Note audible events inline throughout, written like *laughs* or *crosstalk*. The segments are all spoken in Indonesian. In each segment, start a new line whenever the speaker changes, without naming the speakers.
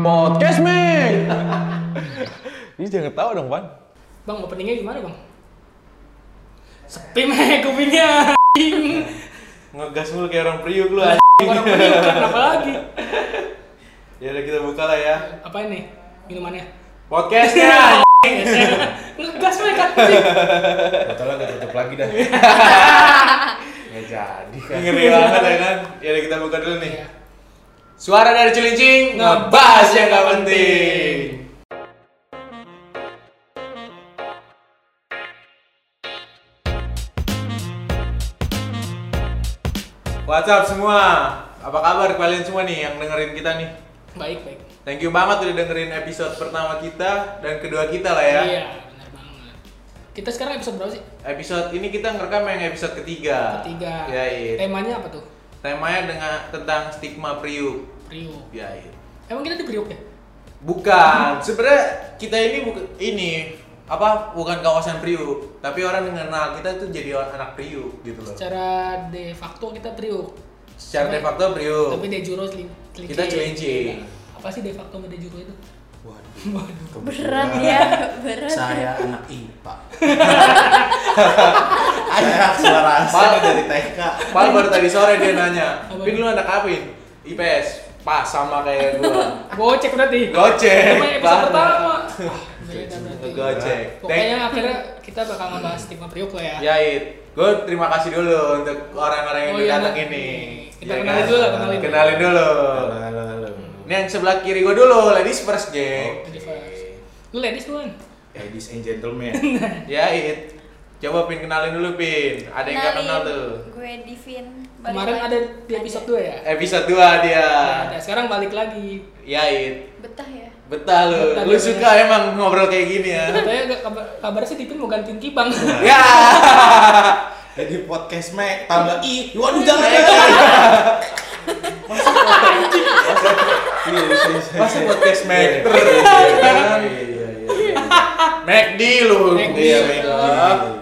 Podcast Mac. *laughs* Ini jangan tahu dong, Pan.
Bang, openingnya gimana bang? Sepi meh
*laughs*
kupingnya anjing.
Ngegas mulu kayak orang priuk lu anjing.
Orang pening, kenapa lagi?
Ya udah kita buka lah ya.
Apa ini? Minumannya? ya.
Podcastnya.
Ngegas meh
*laughs*
anjing.
Totalnya gak tutup lagi dah. Nggak jadi kan.
Ngeri banget ya kan. Ya udah kita buka dulu nih.
Iya.
Suara dari Cilincing ngebahas yang gak penting. What's up semua? Apa kabar kalian semua nih yang dengerin kita nih?
Baik baik.
Thank you banget udah dengerin episode pertama kita dan kedua kita lah ya.
Iya benar banget. Kita sekarang episode berapa sih?
Episode ini kita ngerekam yang episode ketiga.
Ketiga.
Ya, iya.
Temanya apa tuh?
Temanya dengan tentang stigma priuk.
Priuk.
Ya, iya.
Emang kita di Priuk ya?
Bukan. Sebenarnya kita ini bukan ini apa bukan kawasan priuk, tapi orang mengenal kita tuh jadi orang anak priuk gitu loh.
Secara de facto kita Priuk.
Secara de
Tapi-
facto priuk.
Tapi de juro celin- celincing.
Kita celincing.
Apa sih de facto sama de juro itu?
Waduh.
Waduh.
berat
*laughs*
ya berat
Saya anak *laughs* IPA. Saya akselerasi dari TK.
Pal baru tadi sore
*laughs*
dia nanya,
Apa?
"Pin lu anak apa, Pin?" IPS. Pas sama kayak
*laughs*
gua.
Gocek berarti. Namanya
Gocek.
episode
banget.
pertama. Ah, beda berarti.
Ngegocek.
Pokoknya akhirnya kita bakal ngebahas stigma priuk lah ya.
Yait, gue terima kasih dulu untuk orang-orang yang
Oh, iya,
datang
Nak.
ini. Iya kan?
Kita kenalin dulu lah, kenalin.
Kenalin dulu.
Halo, halo, halo.
Ini yang sebelah kiri gue dulu, ladies first, geng.
Jadi first. Lu ladies lu kan?
Ladies and
*laughs*
gentlemen.
Yait, Ya, coba pin kenalin dulu pin. Ada yang gak kenal tuh.
gue Divin Balik
Kemarin
lagi.
ada di episode 2 ya?
Episode 2 dia.
Ada. Sekarang balik lagi.
Yait,
betah ya
betah lu.
Betah
lu
dia.
suka emang ngobrol kayak gini
*laughs*
ya.
Katanya gak kabar, kabar sih Dipin mau gantiin Kibang. *laughs*
ya.
Jadi podcast Mac tambah i. Waduh jangan jangan.
*laughs*
Iya,
Masa podcast Kan? Mac? McD lu.
Mac
Iya,
D.
Mac D.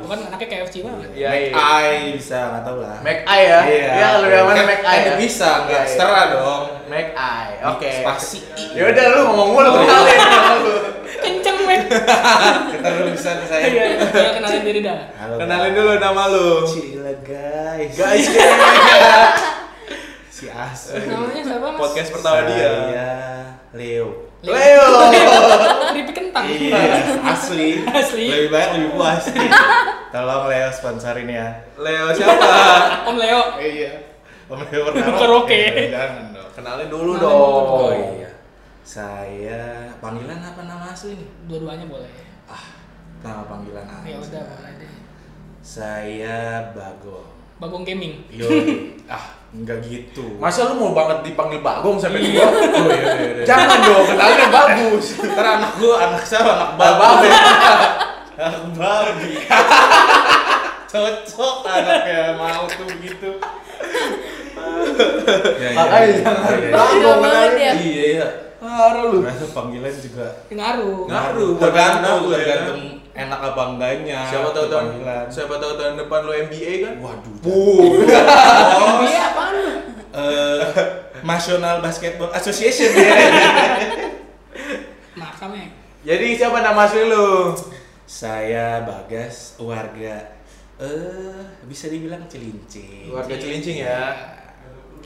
Bukan anaknya KFC banget.
iya,
Yait.
Ai bisa nggak tahu lah.
Mac I Iya, ya? Iya, lu yang mana Mac I ya?
Kan bisa nggak?
Iya, iya.
Setara dong.
Mac I, oke.
Spasi Iya. i.
Ya udah lu ngomong mulu kenalin
*laughs*
lu.
Kenceng men.
Kita dulu bisa saya.
Iya, iya. kenalin diri dah.
Halo.
Kenalin dulu nama lu.
Cila guys.
Guys,
Si As.
Namanya siapa mas?
*laughs* podcast pertama dia.
Saya iya. Leo.
Leo.
Oh, Ripi kentang.
Iya, asli.
Asli.
Lebih banyak lebih puas. Tolong Leo sponsorin ya.
Leo siapa?
Om Leo.
Iya. Om Leo pernah
Karaoke.
Jangan dong.
Kenalin dulu
Kenalin
dong.
dulu.
Oh iya. Saya panggilan apa nama asli nih?
Hmm, Dua-duanya boleh.
Ah, nama panggilan apa?
Ya udah boleh deh.
Saya Bagong.
*laughs*
Bagong Gaming.
Yo, ah, enggak gitu.
Masa lu mau banget dipanggil Bagong sampai gua?
*laughs* Oh, iya, iya, iya.
Jangan dong, kenalinnya bagus.
Ntar anak gua anak siapa? Anak babi.
Babe.
Anak *laughs* babi. Cocok anaknya mau tuh gitu. ya,
Makanya jangan
Bangga
Bagong
banget ya.
kenalin.
Iya, iya.
Ngaruh lu.
Karena panggilan juga
Ngaruh.
Ngaruh.
tergantung
ngaruh, ya.
tergantung enak apa enggaknya.
Siapa tahu tahun
tuh Nah, panggilan.
siapa tahu tahun depan lu MBA kan?
Waduh.
Puh.
Iya, apaan lu?
Eh, National Basketball *laughs* Association ya.
Maksa men.
Jadi siapa nama asli lu?
Saya Bagas warga eh bisa dibilang Cilincing.
Warga Cilincing ya.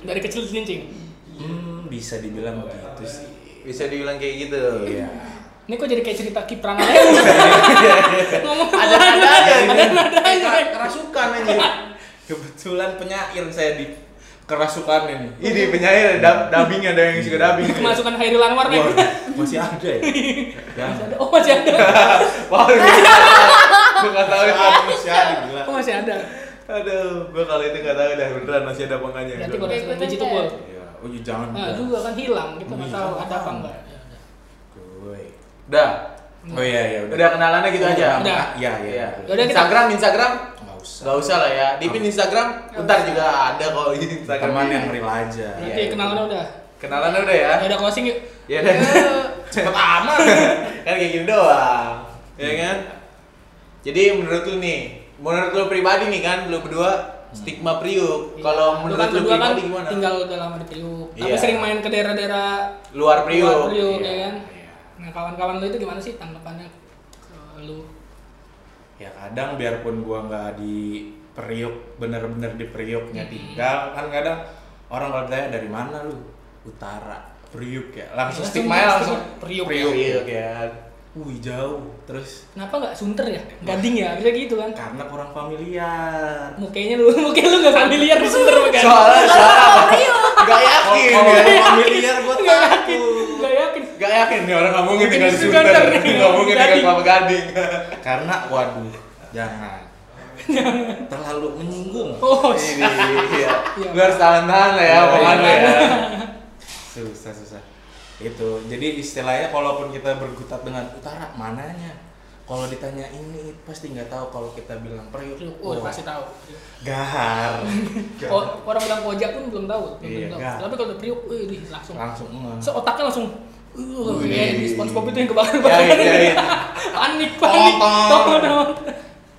Dari kecil celincing.
Hmm, bisa dibilang begitu sih.
Bisa dibilang kayak gitu.
Iya.
Ini kok jadi kayak cerita kiprang
*laughs*
aja. Ngomong ada ada ada ada
Eh, kerasukan aja.
Kebetulan penyair saya di kerasukan ini.
Ini penyair dab, dubbing ada yang suka dubbing.
Kemasukan Hairil Anwar men.
Wah, masih ada ya? ya.
Masih ada. *laughs* Oh masih ada.
*laughs* Wah,
*laughs*
gue nggak tahu itu.
Masih ada ya, gila.
Oh masih ada.
Aduh, gue kali itu nggak tahu dah beneran masih ada pengannya.
Berarti
Kayak
kalau
gue
biji
tanya.
tukul.
Ya, oh iya, jangan
Nah
juga.
juga kan hilang. Kita
Iya.
nggak tahu ada apa enggak.
Gue.
Udah,
Oh iya iya
udah kenalannya gitu aja.
Udah.
Iya iya.
Iya.
Yaudah, kita-
Instagram, Instagram.
Enggak usah.
Gak usah lah ya. Dipin Instagram, bentar juga ada kok di Instagram.
Teman yang real aja.
Berarti
iya.
kenalan udah.
Kenalan udah ya.
Ya udah closing yuk.
Ya deh. *laughs* Cepet amat. kan kayak gini doang. Iya Ya kan? Jadi menurut lu nih, menurut lu pribadi nih kan, lu berdua stigma Priuk.
Iya.
Kalau
Lu
menurut
kan
lu
berdua kan
pribadi gimana?
tinggal udah lama di Priuk. Tapi
Iya.
sering main ke daerah-daerah
luar Priuk.
luar Priuk
Iya.
ya kan.
Iya.
Nah, kawan-kawan lu itu gimana sih tanggapannya ke lu?
ya kadang biarpun gua nggak di Priuk bener-bener di Priuknya tinggal kan kadang orang kalau tanya dari mana lu utara Priuk ya
Langsung
langsung stigma ya langsung
langsung Priuk.
Priuk
kan.
ya wih jauh terus
Kenapa nggak sunter ya? Gading ya, bisa gitu kan.
karena kurang familiar
Mukanya lu, *laughs* mukanya lu nggak familiar di sunter kan.
Soalnya soalnya Gak yakin.
kalau
ya.
nggak familiar gua
Nggak yakin,
takut
nggak yakin.
Gak yakin nih orang ngomongin
Mungkin
tinggal di
di
Sunter.
Sunter nih.
Ngomongin tinggal
Gading.
sama Gading.
karena waduh jangan terlalu menyinggung
Oh,
Ini iya.
Iya.
Lu harus tahan-tahan lah ya
Iya,
omongan lu
iya.
ya.
susah susah itu jadi istilahnya kalaupun kita berkutat dengan utara mananya kalau ditanya ini pasti nggak tahu kalau kita bilang periuk
Priuk. Oh,
wah,
pasti tahu.
gahar
Oh, orang bilang pojak pun belum tahu, belum
Iya,
tahu.
nggak.
Tapi kalau udah Priuk, wih, di- langsung.
langsung ngeh.
So otaknya langsung Uh,
Wih.
kayak di SpongeBob itu yang kebakar-bakar
Iya, iya, iya.
*laughs* panik, panik,
Tonton.
tonton.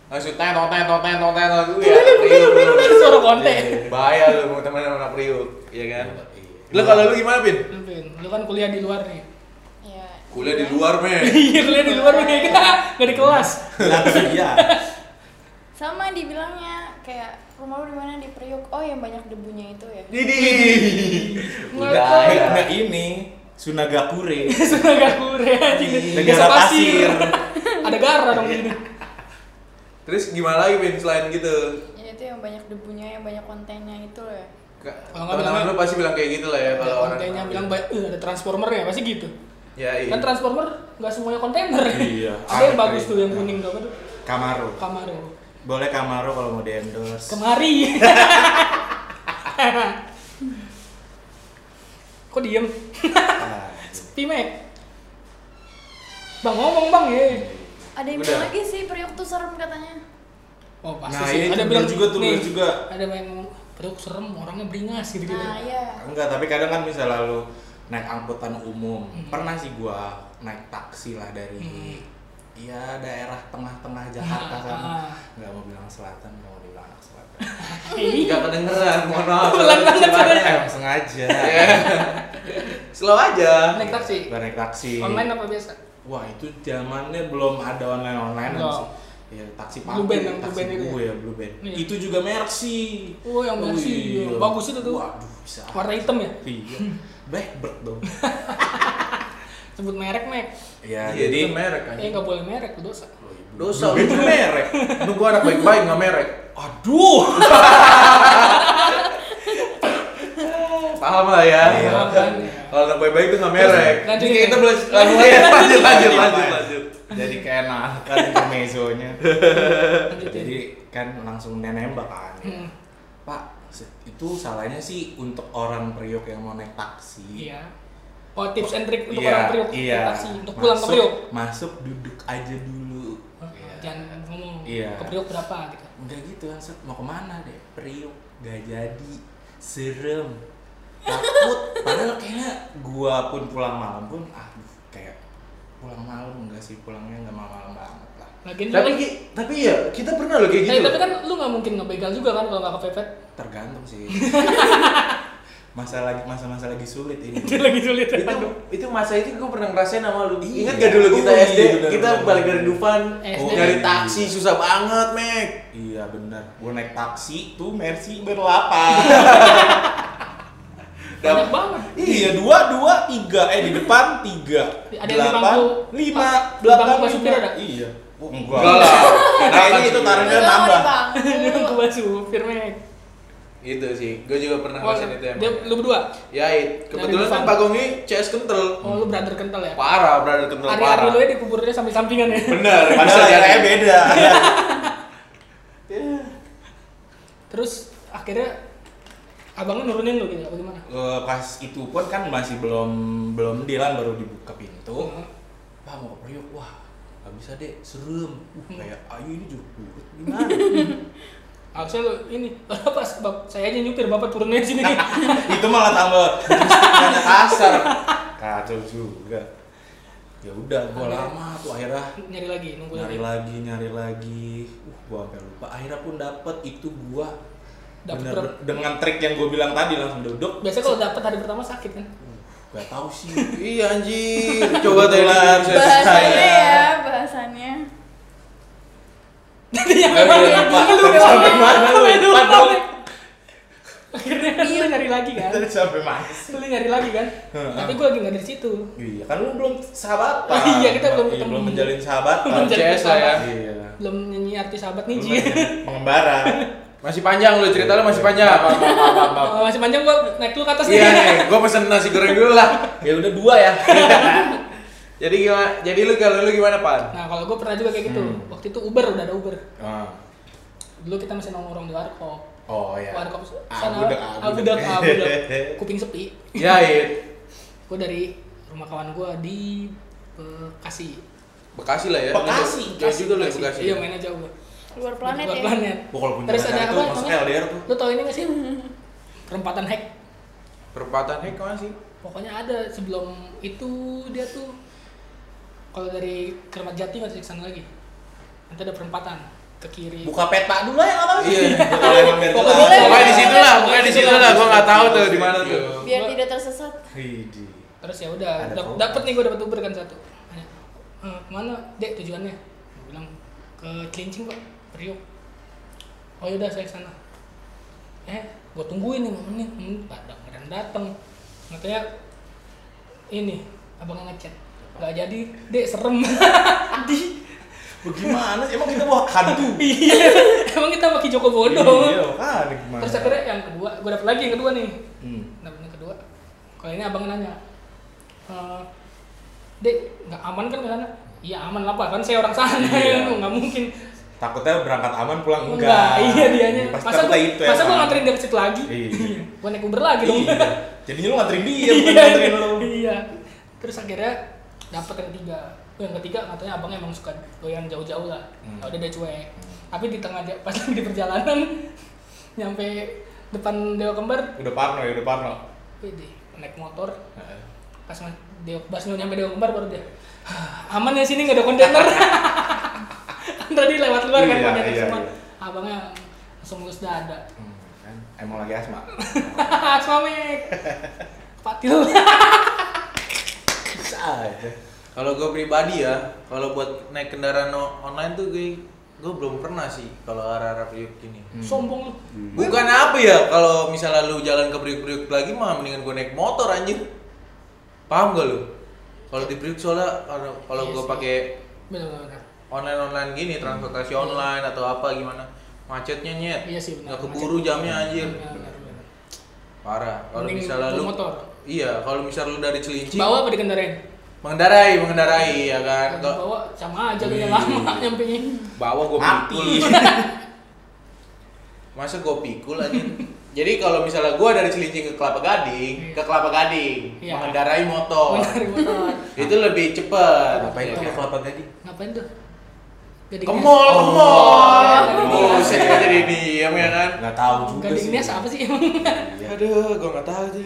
Langsung teng tong teng tong teng tong teng tong Iya,
Priuk,
Priuk.
Priuk, Priuk, suara konten.
Bahaya lu mau temenan sama anak Priuk, iya kan?
Iya.
Lu kalau lu gimana, Pin?
Lu, Vin, lu kan kuliah di luar nih. *laughs*
Iya.
Kuliah di luar, men.
Iya, kuliah di luar mereka *laughs* nggak di kelas.
Lah, iya
Sama dibilangnya kayak rumah lu di mana di Priuk. Oh yang banyak debunya itu ya.
Didi.
udah
Ngapain?
ya. Nah, ini sunagakure
*laughs* Sudah gak kure anjing.
negara
Bisa
pasir
*laughs* Ada gara dong di sini.
Terus gimana lagi, Pin, selain gitu?
Ya itu yang banyak debunya, yang banyak kontennya itu loh ya.
Ka-
Kalau nggak
Teman-teman
bilangnya-
lu pasti bilang kayak gitu lah ya kalau orang.
Kontennya bilang "Ba- eh, ada transformer ya, pasti gitu.
Ya iya.
Kan transformer nggak semuanya kontainer.
Iya.
*laughs* Ada yang
Ada
bagus
yang-
tuh yang kuning tuh apa tuh?
Kamaro
Kamaro.
boleh Kamaro kalau mau di endorse
Kemari. *laughs* Kok diem?
Nah,
Sepi, Mek. Bang ngomong, Bang, ya.
Ada yang
Udah.
bilang lagi sih Priuk tuh serem katanya.
Oh, pasti
Nah,
sih.
iya, itu
ada
bener
bilang
juga tuh,
nih,
bener juga.
Ada yang ngomong, "Padahal serem, orangnya beringas gitu gitu.
Nah iya.
Enggak, tapi kadang kan misalnya lu naik angkutan umum.
Hmm.
Pernah sih gua naik taksi lah dari ya daerah tengah-tengah Jakarta
Ah,
sana.
ah.
Enggak mau bilang selatan, mau bilang anak
*laughs*
selatan.
Iya.
Nggak kedengeran, mohon maaf.
Pelan banget
Karena
suaranya.
emang sengaja.
Iya. Slow aja.
gitu. Naik taksi.
Gua naik taksi.
Online apa biasa?
Wah, itu zamannya belum ada online-online
Belum.
sih. Ya, taksi
Blue
paku,
Band, yang Blue
taksi
Band itu
gue
ya?
ya, Blue Band.
Iya.
Itu juga Mercy.
Oh, yang Mercy.
Wih,
Bagus itu tuh.
Waduh, bisa.
Warna hitam ya?
Iya. Blackbird
*laughs*
dong.
Sebut merek, Mek.
Ya,
Iya,
jadi
itu merek kan.
Eh, nggak boleh merek,
*laughs*
dosa.
Dosa itu merek. Lu gua anak baik-baik nggak merek.
Aduh.
Paham lah ya.
Iya.
Paham.
Kalau anak baik-baik itu nggak merek.
Lanjut
Jadi
ya.
kita boleh lanjut lanjut *laughs* lanjut lanjut lanjut.
Iya, Jadi keenakan
*laughs*
intermezzonya.
Lanjutin.
Jadi kan langsung nembak kan.
Hmm.
Pak, se- itu salahnya sih untuk orang Priok yang mau naik taksi.
Iya. Oh, tips and trick untuk
Iya,
orang Priok,
iya.
naik taksi, untuk pulang ke
Masuk-
Priok.
Masuk duduk aja dulu.
Hah?
Iya.
Jangan ngomong
Iya.
ke Priok berapa gitu.
Enggak gitu, langsung mau kemana deh? Priok gak jadi, serem, takut. Padahal kayaknya gua pun pulang malam pun ah kayak pulang malam enggak sih pulangnya enggak malam-malam banget lah.
Lagian
Tapi
lu-
ki- tapi ya kita pernah loh kayak
Eh,
gitu.
tapi kan lu nggak mungkin ngebegal juga kan kalau nggak kepepet.
Tergantung sih. *laughs* masa lagi masa-masa lagi sulit ini.
Itu lagi sulit.
itu itu masa itu gue pernah ngerasain sama lu
Iya.
ingat gak dulu kita
Oh, iya,
SD
benar,
kita
benar.
balik dari Dufan
SD.
nyari taksi susah banget Mek
iya benar. Gua naik taksi tuh Mercy berlapan.
Banyak banget.
iya dua dua tiga eh di depan tiga
Ada yang di
delapan
bangku-
lima
bangku
belakang
bangku
lima.
supir ada?
iya oh, enggak
Enggak lah.
kayaknya itu
Lu
tarifnya
tahu
nambah
nih, Bang.
Yang
*laughs*
gua supir Mek.
gitu sih gue juga pernah
Wah,
ngerasain itu
dia,
emang
lu berdua.
ya It. kebetulan
Dari
kan
Dufan.
Pak Gongi CS kental
Oh, lu brother kental ya.
parah berada kental
Hari-hari
Hmm. parah
lu ya dikuburnya sampai sampingan
*laughs*
ya.
bener bisa
padahal
jadi
airnya beda
Terus akhirnya abang lu nurunin lu gitu apa gimana?
*laughs* Eh, pas itu pun kan masih belum belum dilan baru dibuka pintu pak mau ke Priok wah nggak bisa deh serem uh, kayak ayu ini juga kurut gimana
Harusnya lu ini *laughs* apa bab, saya aja nyupir bapak turunnya di sini.
*laughs* Nah. itu malah tambah bikin sikapnya kasar kacau juga ya udah gua lama tuh akhirnya
*laughs* nyari lagi nunggu
nyari
lagi.
lagi nyari lagi uh gua sampai lupa akhirnya pun dapet itu gua
Dapet
Bener,
berapa?
dengan trik yang gue bilang tadi langsung duduk
Biasanya kalau dapat hari pertama sakit kan?
gak tahu sih
Iya anjir, coba tadi
Kebetulan.
bisa
Bahasannya
saya.
ya, bahasannya.
Iya,
*laughs* Yang
Gak
mana?
lupa.
Yang lupa.
Sampai mana lu?
Sampai lupa.
Lupa dong.
Akhirnya lu nyari lagi kan?
dari sampai mas
Lu nyari lagi kan?
Heeh.
Tapi gue lagi nggak dari situ.
iya kan lu belum sahabat
Oh iya, kita belum
Iya,
ketemu.
belum menjalin sahabat
*laughs* Belum jadi
Ah, CS lah ya.
iya
Belum nyanyi artis sahabat nih
Belum
Ji.
menjalin pengembara
Masih panjang lu cerita lu masih panjang. Maaf, maaf, maaf, maaf.
Oh, *laughs* masih panjang gue naik lu ke atas
Iya
nih.
nih, gue pesen nasi goreng dulu lah.
ya udah dua ya
*laughs* Jadi gimana? Jadi lu kalau lu gimana pan?
*laughs* Nah kalau gue pernah juga kayak
Hmm.
gitu. Waktu itu Uber udah ada Uber.
Ah.
Dulu kita masih nongkrong di warkop.
oh iya
Warkop
Ah,
sana.
Abudak, abudak.
Abudak, abudak.
*laughs*
Kuping sepi.
Ya, Jahit,
Gue dari rumah kawan gue di eh, Bekasi.
Bekasi lah ya.
Bekasi,
jauh juga lu ya, Bekasi.
Iya mainnya jauh gue.
Luar planet
Luar
ya.
planet.
Gua kalau punya
Terus ada
pacar
apa?
itu masuk
namanya?
LDR tuh
Lu tau ini
*laughs*
gak sih? Perempatan hack.
Perempatan hek mana sih?
Pokoknya ada sebelum itu dia tuh kalau dari Kermat Jati masih ke sana lagi. Nanti ada perempatan ke kiri.
buka peta dulu ya apa
Iya.
*laughs* kalau emang biar
Pokoknya
jelas.
boleh.
Pokoknya di situ lah, pokoknya di situ lah. Gue nggak tahu tuh di mana tuh.
Biar tidak tersesat.
Hidi.
Terus ya udah
Ada
dap-
program.
dapet nih gue dapet Uber kan satu. Nanya, "E, kemana dek tujuannya? Gua bilang ke Cilincing pak, Priok. Oh yaudah saya kesana. Eh, gue tungguin nih mau menit, hmm, pada keren dateng. Makanya ini abangnya ngechat. Gak jadi, dek serem. *laughs* Di,
Bagaimana sih? Emang kita bawa hantu?
iya. Emang kita pakai Joko
Iya,
Bodoh.
kan gimana?
Terus akhirnya yang kedua, gue dapet lagi yang kedua nih.
Hmm.
Nah, yang kedua, kalau ini abang nanya, e, dek nggak aman kan ke sana? Iya aman lah pak, kan saya orang sana
Iya.
ya, *laughs* nggak mungkin.
Takutnya berangkat aman pulang enggak.
iya dianya.
Pasti
masa
takutnya
gua,
itu ya.
masa gua nganterin dia ke situ lagi?
Iya.
Gua naik Uber lagi dong. *laughs*
Iya. Jadinya lu nganterin dia, bukan nganterin lu.
Iya. Terus akhirnya dapet yang ketiga. Oh, Yang ketiga katanya abang emang suka goyang jauh-jauh lah.
Hmm.
Udah dia cuek. Tapi di tengah aja *laughs* pas lagi di perjalanan *laughs* nyampe depan Dewa Kembar,
Udah parno ya, udah parno.
pede naik motor pas mas dia pas mau nyampe dia kembar baru dia "Hah, aman ya sini nggak ada kontainer *laughs* kan tadi lewat luar kan
Iya,
kontainer
iya,
semua
iya.
abangnya langsung ngelus dada *laughs*
Hmm, kan? Emang lagi asma.
suami patil
Bisa aja.
Kalau gue pribadi ya, kalau buat naik kendaraan o- online tuh gue gue belum pernah sih kalau arah-arah Priuk gini.
sombong lu
Bukan apa ya, kalau misalnya lu jalan ke Priuk-Priuk lagi mah mendingan gue naik motor anjir. Paham gak lu? Kalau di Priuk soalnya kalau- kalau
Iya
gue
sih.
pakai
bener bener, bener
online-online gini, transportasi online atau apa gimana, macetnya nyet.
Iya sih,
Nggak
benar.
keburu jamnya anjir.
Bener, bener, bener.
Parah. Kalau
Mending
misalnya lu
bawa motor.
Iya, kalau misalnya lu dari Cilincing
bawa apa dikendarain
mengendarai, mengendarai ya kan. Kalau-
bawa sama aja lu
Iya.
yang lama *laughs* nyampe
bawa gue
Mati.
pikul *laughs* masa gue pikul aja jadi kalau misalnya gue dari Cilincing ke Kelapa Gading
Iya.
ke Kelapa Gading
Iya.
mengendarai motor
Mengendarai motor
itu lebih cepet
Apa
Iya,
itu
ya kan?
kelapa tadi?
ngapain tuh Gading
ke mall Oh, ke
Oh.
mall
Iya.
buset gue jadi diem ya kan
Enggak tahu
Nias.
juga
Gading
sih.
Nias apa sih *laughs* emang
Iya.
aduh gue nggak tahu tuh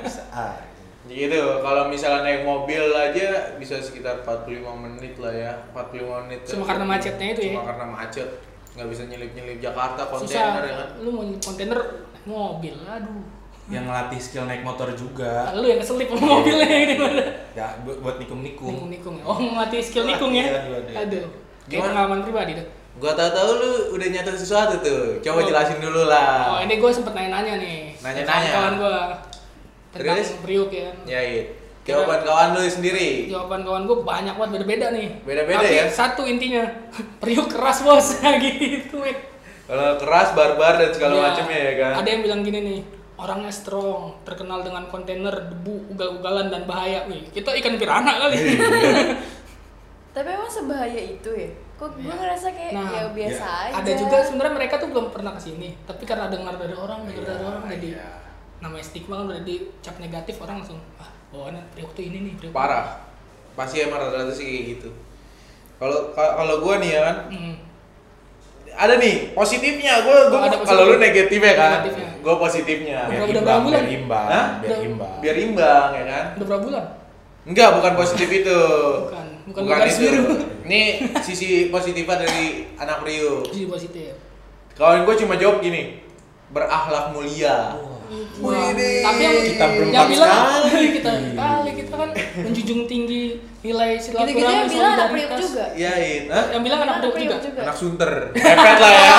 Bisa aja.
gitu kalau misalnya naik mobil aja bisa sekitar 45 menit lah ya 45 menit
Cuma karena macetnya itu ya?
cuma karena macet nggak bisa nyelip-nyelip Jakarta kontainer ya kan
susah lu mau nyari kontainer naik mobil aduh
Yang ngelatih skill naik motor juga.
lu yang keselip sama mobilnya
Iya,
gitu
Ya buat buat
nikung
nikum-nikum.
nikung ya oh ngelatih skill nikung ya
Latihan, latihan.
aduh kayak
Gimana?
pengalaman pribadi tuh
Gua tahu-tahu lu udah nyata sesuatu tuh. Coba
Oh.
jelasin dulu lah.
oh ini gue sempet nanya-nanya nih
Ah. Nanya-nanya.
kawan gue tentang
Terus?
priuk ya
Ya, It. Jawaban kawan lu sendiri.
jawaban kawan gue banyak banget beda-beda nih
Beda-beda
Tapi
ya?
satu intinya *laughs* priuk keras bos *laughs* gitu ya
Kalau keras, barbar dan segala
Ya,
macamnya ya kan.
ada yang bilang gini nih orangnya strong terkenal dengan kontainer debu ugal-ugalan dan bahaya wih kita ikan piranha kali
*laughs*
Tapi emang sebahaya itu ya? Kok gue ngerasa kayak
Nah,
ya biasa aja.
ada juga sebenarnya mereka tuh belum pernah kesini tapi karena dengar dari orang dengar dari orang jadi
iya.
namanya stigma kan udah dicap negatif orang langsung ah bawaannya Priok tuh ini nih Priok
Parah. Pasti emang rata-rata sih kayak gitu. Kalau ka- kalau gua nih ya kan,
Hmm.
ada nih positifnya. Gua gua
Oh, ada
kalau lu
positif.
negatifnya kan,
Negatifnya.
gua positifnya.
Biar
Udah- udah
imbang,
berapa
biar
bulan?
imbang,
Hah?
biar
Udah-
imbang.
Biar imbang ya kan.
udah berapa bulan
Enggak, bukan positif itu.
*laughs* Bukan, bukan garis biru.
Ini sisi positifnya dari anak Rio.
jadi positif
Kawan gue cuma jawab gini, berakhlak mulia.
Wah,
Widih.
tapi yang
Kita berempat
yang bilang
sekali.
*laughs* kita kali kita kan menjunjung tinggi nilai silaturahmi
Gitu-gitu yang Iya, bilang anak priuk
solidaritas.
juga.
Yain, Hah?
Yang bilang ya, anak priuk juga.
Iya, anak sunter, mepet lah
*laughs*
ya,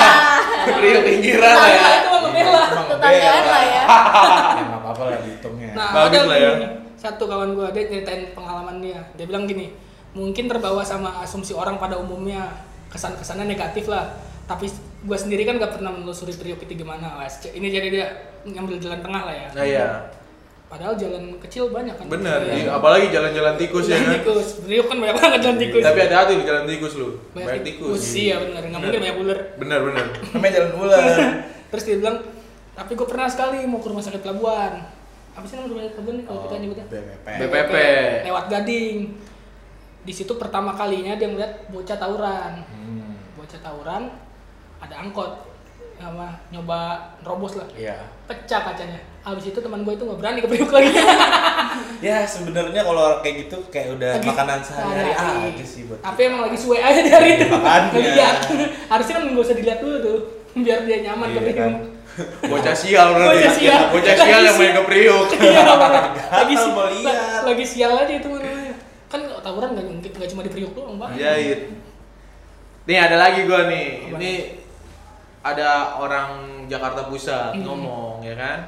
Rio pinggiran lah ya.
Tetangga itu sama Bella.
Emang
Tetanggaan
beda.
lah ya.
Ya, nggak apa-apa lah dihitungnya
Nah,
Bagus
ada
lah ya.
nih, satu kawan gua dia ceritain pengalaman dia. Dia bilang gini, mungkin terbawa sama asumsi orang pada umumnya kesan-kesannya negatif lah. Tapi gua sendiri kan gak pernah menelusuri priuk itu gimana. Wes, c- Ini jadi dia ngambil jalan tengah lah ya.
Nah ya,
Padahal jalan kecil banyak kan.
bener.
Iya.
Di- Apalagi jalan-jalan tikus ya
Jalan
kan.
tikus. Priuk kan banyak banget jalan tikus.
Tapi hati-hati di jalan tikus lu. Banyak tikus.
Iya bener, nggak mungkin banyak ular.
Bener bener.
namanya jalan ular
Terus dia bilang, tapi gue pernah sekali mau ke rumah sakit Pelabuhan. Apa sih nama rumah sakit Pelabuhan nih kalau
Oh.
kita nyebutnya?
BPP
BPP.
Lewat Gading. Di situ pertama kalinya dia melihat bocah tawuran.
Hmm,
Bocah tawuran, ada angkot. Sama nyoba robos lah.
iya
Pecah kacanya. Abis itu teman gue itu nggak berani ke Priuk lagi.
*laughs* ya sebenarnya kalau kayak gitu kayak udah
Lagi-
makanan sehari-hari
sehari-hari.
aja sih buat Iya,
Tapi emang lagi suwe aja dari itu.
Makanya.
Ngeliat. Harusnya kan nggak usah dilihat dulu tuh. *laughs* Biar dia nyaman
Iya
ke Priuk. *laughs*
kan?
Bocah sial berarti.
Bocah sial.
Bocah sial yang main ke Priuk.
*laughs* Iya, lagi
Gatal
si-
mau lihat.
la- lagi sial aja itu namanya. Kan tawuran nggak mungkin nggak cuma di Priuk doang,
Iya,
Pak.
Jahit. Iya, Nih ada lagi gua nih.
Apa
Ini ada orang Jakarta Pusat ngomong ya kan.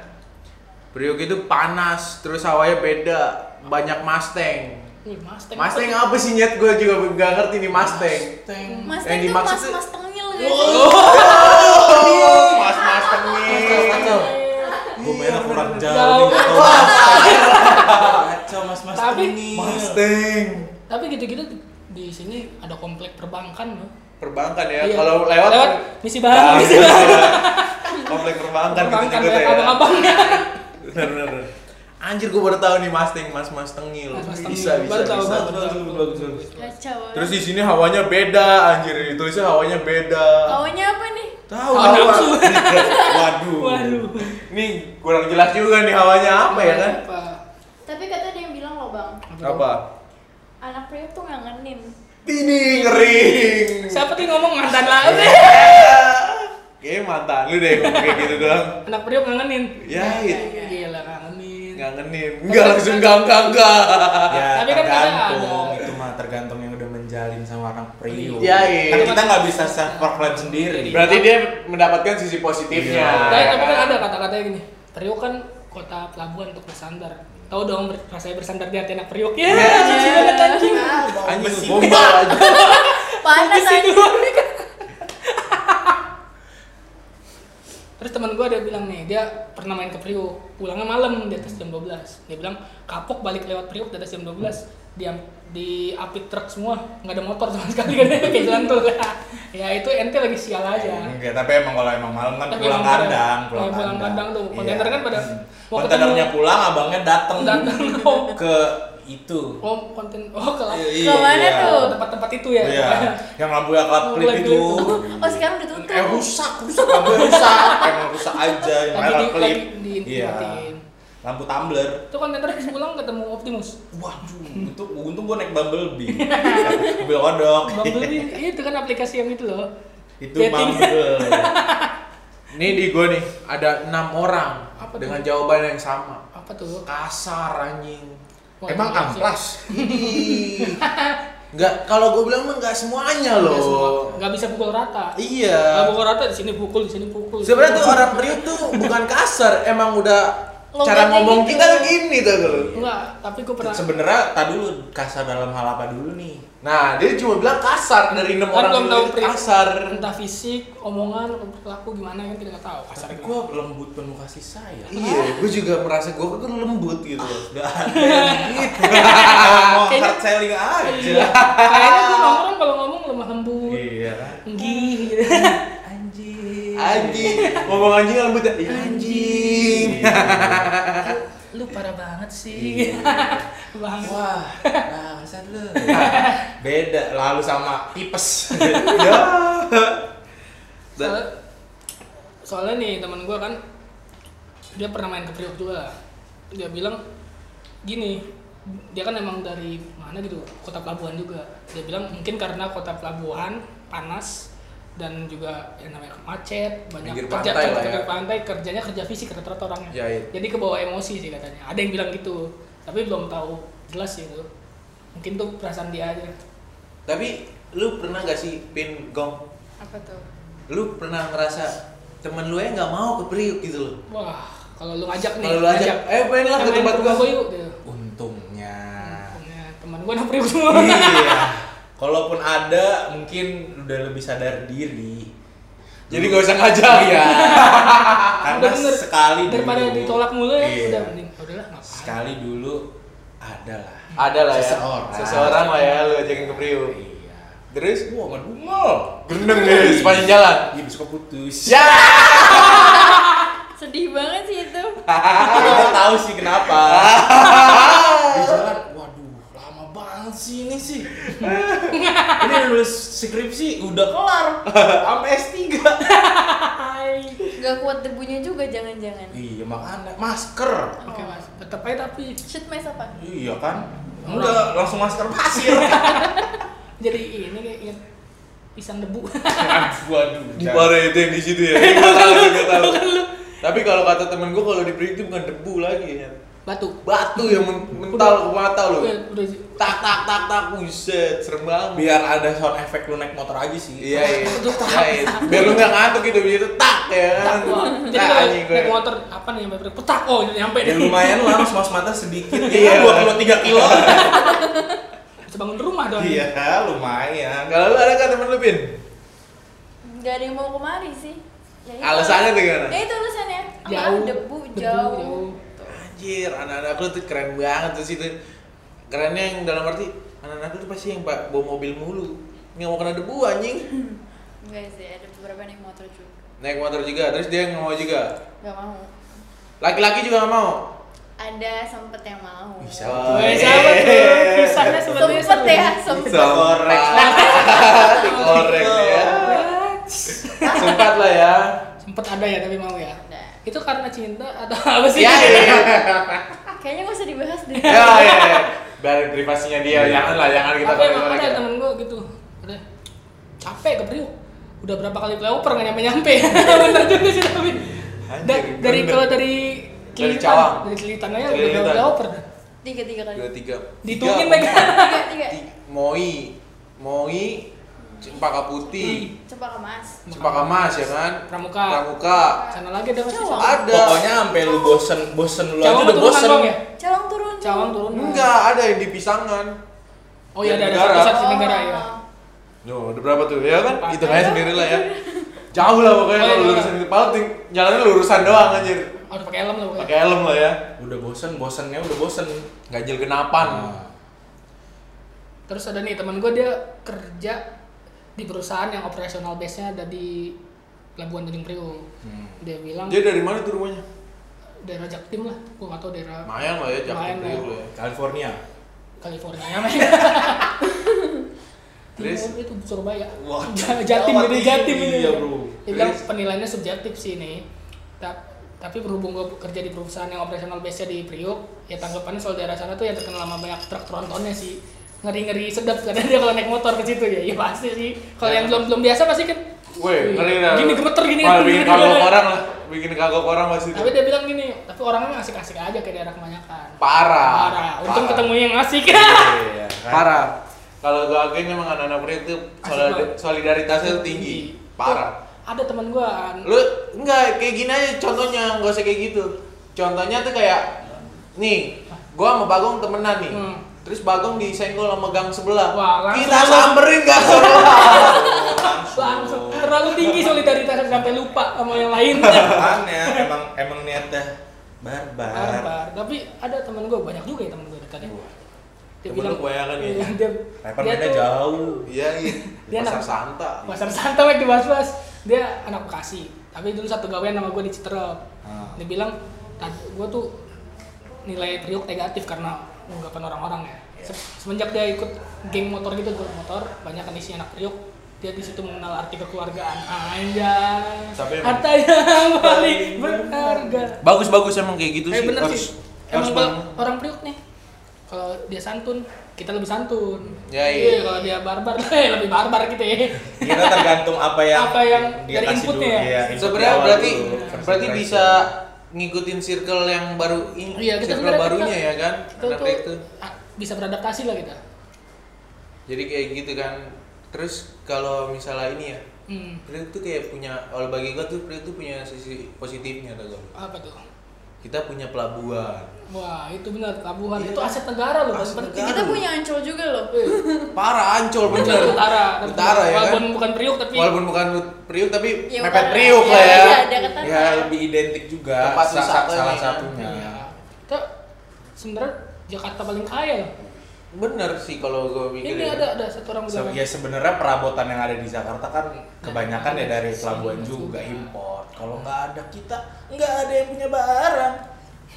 Priuk itu panas, terus hawanya beda, banyak Mustang.
Wih, Mustang.
Mustang apa sih nyet gue juga gak ngerti nih Mustang.
Mas
Yang
itu
dimaksud
mas
tuh-
mas tengil
Oh,
gitu.
mas Mustang nih.
kacau gue mainnya kurang
Iya, Jauh.
jauh nih, kacau mas kacau mas mas Iya.
Tapi-
ini
Mustang.
Tapi gitu-gitu di- di sini ada komplek perbankan loh.
Perbankan ya.
Iya.
Kalau lewat,
lewat misi bahan,
Ah,
misi
iya.
bahan. *laughs*
Komplek perbankan gitu
Perbankan
juga tuh
banyak
ya.
abang-abangnya.
Bener, bener, bener. Anjir gue baru tahu nih Mustang, Mas Mas Tengil.
Mas Mustang
bisa
Tengil.
bisa.
Baru tahu,
bisa.
baru.
Kacau.
Terus di sini hawanya beda, anjir. Ditulisnya hawanya beda.
Kawannya apa nih?
Tahu.
Hawa
hawa.
Oh, nafsu. *laughs*
waduh
Waduh.
Nih kurang jelas juga nih hawanya apa ya kan?
Apa?
Tapi kata dia yang bilang loh bang,
Apa?
anak priuk tuh
*laughs*
ngangenin.
Ini ngering.
Siapa tuh yang ngomong mantan lah?
Iya. Kayaknya mantan lu deh ngomong kayak gitu doang.
Anak Priuk ngangenin. Iya,
Ya, it.
Gila ngangenin.
ngangenin. Enggak langsung enggak enggak enggak.
ya
Tapi kan kadang
tergantung
ada-
itu mah tergantung yang udah menjalin sama orang priuk
Iya, iya.
kan kita nggak bisa self proclaim sendiri
Berarti dia mendapatkan sisi positifnya.
Iya.
Tapi,
ya
tapi kan
kan?
ada kata-katanya gini, Priuk kan kota pelabuhan untuk bersandar. Tahu dong ber- rasanya bersandar di hati anak Priuk ya.
Iya.
jijik banget anjing.
Anjing
Besi.
bomba.
*laughs*
*laughs*
Panas aja.
Terus teman gue ada bilang nih, dia pernah main ke Priuk, pulangnya malam di atas jam 12. Dia bilang kapok balik lewat Priuk di atas jam 12. Dia di api truk semua, nggak ada motor sama sekali *laughs* kan kayak jalan tol. ya itu ente lagi sial aja.
Enggak, tapi emang kalau emang malam kan
Tapi
pulang
emang kadang-
kandang,
pulang kandang tuh, kontainer kan pada mau
kontainernya
ketemu.
pulang, abangnya dateng
Dateng, oh.
*laughs* ke itu.
Oh konten, oh kalau
Iya,
Kemana
iya.
tuh?
tempat-tempat itu
Oh,
ya.
Iya, yang lampu yang kelap klip
Lampu
itu.
Oh sekarang ditutup.
Eh rusak, rusak lampu rusak, emang rusak aja, yang
Lagi
lain
di-
kelap klip. Iya.
lagi diintimatin.
Lampu tumbler.
*laughs* Itu kontainer habis pulang ketemu Optimus.
Waduh, untung, untung gue naik Bumblebee. Mobil kodok.
Iya.
Bumblebee itu kan aplikasi yang itu loh.
Itu
Dating. *laughs*
Bumble.
Nih di gua nih ada enam orang
Apa tuh?
dengan jawaban yang sama.
Apa tuh?
Kasar
*laughs*
anjing.
Wah,
Emang
iya,
amplas.
Ih. Enggak kalau gua bilang mah enggak semuanya
Nggak semua-
loh.
nggak bisa pukul rata.
Iya.
Nggak pukul rata di sini pukul, di sini pukul.
Sebenarnya tuh orang Priuk tuh bukan kasar, emang udah cara
Logatnya
ngomong
gitu.
kita tuh gini tuh kalau.
enggak, tapi gue pernah
Sebenarnya tadi dulu kasar dalam hal apa dulu nih?
Nah, dia cuma bilang kasar dari enam
kan
orang
belum
itu
tahu pri-
kasar.
entah fisik, omongan, atau perilaku gimana kan kita nggak tahu. Kasar
Tapi
gitu.
gue lembut penuh kasih *laughs* sayang.
Iya, gue juga merasa gue kan lembut gitu.
Gak ada yang gitu. Mau
Kayaknya- Iya.
hard selling aja.
Kayaknya gue nongkrong kalau ngomong lemah lembut,
Iya.
gih gitu.
Anjing.
Anjing, Iya, *laughs* ngomong anjing lembut ya. Ih, Anjing.
Lu parah banget sih. Banget.
Wah, Nah, bangsat lu. *laughs* Beda lalu sama tipes.
*laughs* Ya. Dan
Soalnya, soalnya nih teman gue kan dia pernah main ke Priok juga dia bilang gini dia kan emang dari mana gitu kota pelabuhan juga dia bilang mungkin karena kota pelabuhan panas dan juga yang namanya macet banyak
Pinggir
kerja
pantai lah
kerja
ya.
kerja pantai kerjanya kerja fisik rata-rata orangnya
Ya, iya.
jadi kebawa emosi sih katanya ada yang bilang gitu tapi belum tahu jelas sih itu mungkin tuh perasaan dia aja
Tapi lu pernah gak sih pin gong?
apa tuh
Lu pernah ngerasa temen lu ya nggak mau ke Priuk gitu loh?
wah kalau lu ngajak nih
Kalau lu ajak, eh pengen lah ke
"Eh, main
tempat
ke
gua.
rumah gua yuk gitu.
*laughs* Untungnya.
Punya teman gua napri semua *laughs*
iya. Kalaupun ada, mungkin udah lebih sadar diri.
Jadi gak usah ngajak
*laughs* Iya. Karena
Udah bener.
sekali
daripada
dulu-
ditolak mulu ya
Iya.
udah mending udahlah ngapain
Sekali dulu ada lah.
Ada lah ya.
Seseorang.
Seseorang lah ya lu ajakin ke Priuk.
Iya.
Terus?
Wah, ngedumel.
Gendeng deh sepanjang jalan.
Iya, besok putus.
Ya.
sedih banget sih itu
Kita tahu sih
*laughs*
kenapa. Di jalan, waduh, lama banget sih ini
*laughs*
sih. ini lulus skripsi udah kelar, sampai S3.
gak kuat debunya juga jangan-jangan
iya, makanya masker.
oke mas tetap aja tapi
shit mes apa
Iya kan? Udah langsung masker pasir.
*laughs*
jadi ini kayak inget pisang debu *laughs*
Waduh,
Di parah itu yang di situ *laughs* ya. Gak tahu, gak tahu. Tapi kalau kata temen gue kalau di Priuk itu bukan debu lagi ya.
batu
Batu yang men- mental ke mata lu.
Udah, udah
Tak tak tak tak buset, serem banget.
biar ada sound effect lu naik motor aja sih.
Iya iya. Iya, iya. Biar lu nggak ngantuk gitu biar itu tak ya kan.
Nah,
jadi
Tak
kalau
anjing gue.
naik motor apa nih nyampe petak oh nyampe
Ya
deh *laughs*
lumayan lah, harus mas mata sedikit
Iya.
ya,
*laughs*
23 kilo.
bisa bangun rumah dong
Iya, lumayan.
Kalau lu ada kan temen lu pin?
gak ada yang mau kemari sih ya itu.
Alasannya tuh gimana?
ya itu alasannya Sama
Jauh.
debu
Debu,
jauh,
jauh.
Anjir, anak-anak lu tuh keren banget tuh situ. Kerennya yang dalam arti anak-anak lu tuh pasti yang pak bawa mobil mulu. Nggak mau kena debu anjing.
enggak sih ada beberapa naik motor juga
Naik motor juga, terus dia nggak mau juga.
gak mau
Laki-laki juga nggak mau.
ada sempet yang mau
Bisa.
Woi, siapa tuh? Pisahnya sebenarnya seru.
sempet ya sempet
Bisa korek.
Dikorek nih ya.
Iya.
Sempat lah ya.
Sempet ada ya tapi mau ya.
Ada.
Itu karena cinta atau *laughs* apa sih?
Iya,
Ya ya.
kayaknya gak usah dibahas deh
Ya ya. ya. Biarin privasinya dia,
ya.
jangan lah, jangan kita
Tapi emang ada
korek-korek. ya.
temen gue gitu. Udah capek ke Priuk. Udah berapa kali flyover nggak nyampe nyampe. *laughs* Bener juga sih tapi. Da-
Anjir,
dari
bener.
kalau dari
Dari
Kelitan-
Cawang.
dari Kelitan aja
Dari
udah
Kelitan.
flyover.
tiga tiga kali
Dua tiga.
Dihitungin
Tiga,
*laughs* mereka.
tiga tiga
Ti- Moi, Moi, Cempaka Putih,
coba kemas
Cempaka Mas ya kan,
Pramuka.
Pramuka,
Sana lagi ada masih
Cawang.
ada.
Pokoknya sampai lu bosen, bosen lu aja
Cawang
udah
betul kan
bosen.
Bang ya?
calon turun
Cawang turun.
Enggak, ada yang di pisangan.
Oh iya ada ada
Negara.
satu satu negara ya.
Yo, udah berapa tuh? Ya kan,
Empat.
hitung aja sendiri lah
*laughs*
ya. Jauh lah pokoknya
Oh,
kalau
iya.
lurusan itu paling ting- jalannya lurusan doang anjir.
Harus pakai helm loh
Pakai helm lah ya.
Udah bosen, bosennya udah bosen.
Ganjil genapan.
Nah,
Terus ada nih teman gue dia kerja di perusahaan yang operasional base-nya ada di Labuan Tanjung Priok.
Hmm.
Dia bilang
Dia dari mana tuh rumahnya?
daerah Jaktim lah, gue nggak tahu daerah
Mayan lah ya,
Mayan
Jakarta
lah.
Priuk lah ya.
California.
California ya men.
*laughs* Terus?
Timur itu Surabaya.
Wah,
Ja- jatim
Jawa
ini jatim ini.
iya, bro.
Dia bilang
Terus?
penilaiannya subjektif sih ini. Ta- Tapi berhubung gue kerja di perusahaan yang operasional base-nya di Priok, ya tanggapannya soal daerah sana tuh yang terkenal sama banyak truk trontonnya sih ngeri-ngeri sedap karena dia kalau naik motor ke situ ya, iya pasti sih. Kalau yang belum belum biasa pasti kan.
Ya. Weh, ngeri dah.
Gini gemeter gini.
Malah bikin
gini, gini,
kagok
gini.
orang lah. Bikin kagok orang pasti itu.
Tapi dia bilang gini, tapi orangnya asik-asik aja kayak daerah kebanyakan.
Parah.
Parah. Untung ketemu yang asik. *laughs*
Iya, kan?
Parah. Kalau gue akuin emang anak-anak Priuk tuh
Asik
solid-
banget.
solidaritasnya tuh tinggi. Parah.
Ada teman gua an-
Lu enggak kayak gini aja contohnya, enggak usah kayak gitu. Contohnya tuh kayak nih, gua sama Bagong temenan nih.
Hmm.
Terus Bagong disenggol sama gang sebelah.
Wah, langsung
Kita
lu- Iya,
samperin gang sebelah.
langsung terlalu tinggi solidaritas sampai lupa sama yang lain.
Makanya Iya, kan ya, emang emang niatnya barbar.
Barbar. Tapi ada teman gua banyak juga ya teman gua dekatnya.
Wah,
Dia
temen
bilang
lu kebanyakan ya.
Iya, *laughs* Dia,
Rapper
dia
beda
tuh
jauh.
Iya, iya. Di
Dia
Pasar
anak-
Santa.
Pasar Santa Mek, di Bas-Bas. Dia anak Bekasi. Tapi dulu satu gawean sama gua di Citerep.
Ah.
Dia bilang, "Tad, gua tuh nilai priuk negatif karena ungkapan orang-orang ya. Se- Semenjak dia ikut geng motor gitu, grup motor, banyak kan isi anak priuk. Dia di situ mengenal arti kekeluargaan. Anjay.
Tapi emang-
Harta
*laughs*
yang paling berharga.
Bagus-bagus emang kayak gitu
eh
sih.
bener
Harus-
sih.
harus
Emang
banget.
kalau orang Priuk nih kalau dia santun kita lebih santun
Ya, iya.
Iya, kalau dia barbar *laughs* eh, lebih barbar kita ya
kita Iya, tergantung apa yang
Apa yang
dia
dari
kasih
inputnya
dulu.
ya?
Iya, input
Sebenarnya
di awal
berarti
dulu, first
berarti
impression.
bisa ngikutin circle yang baru ini,
Iya, kita
circle
sebenarnya
barunya
kita-
ya kan.
kita
Anak
tuh
tech tuh.
a- ah, bisa beradaptasi lah kita
Jadi kayak gitu kan. Terus kalau misalnya ini ya,
hmm,
Priuk tuh kayak punya, kalau bagi gua tuh Priuk tuh punya sisi positifnya tuh gua.
apa tuh
Kita punya pelabuhan.
wah itu benar tabuhan
Iya.
itu aset negara loh
Aset
penting
negara.
Kita punya ancol juga loh.
Eh,
Parah ancol
Pencet
bener.
utara tapi
Utara ya
walaupun
kan.
bukan priuk tapi
Walaupun bukan Priuk tapi
Ya,
mepet
kan?
utara.
Priuk
Ya,
lah ya.
iya, deketan
ya
lah.
lebih identik juga
Tempat
sa- sa-
wisata
salah
ya.
satunya
Iya. kita sebenarnya Jakarta paling kaya loh
Bener sih kalau gua pikir.
ini
ya.
ada ada satu orang
Se-
bilang
ya sebenarnya perabotan yang ada di Jakarta kan kebanyakan ya dari pelabuhan juga
Iya.
impor kalau nggak ada kita nggak ada yang punya barang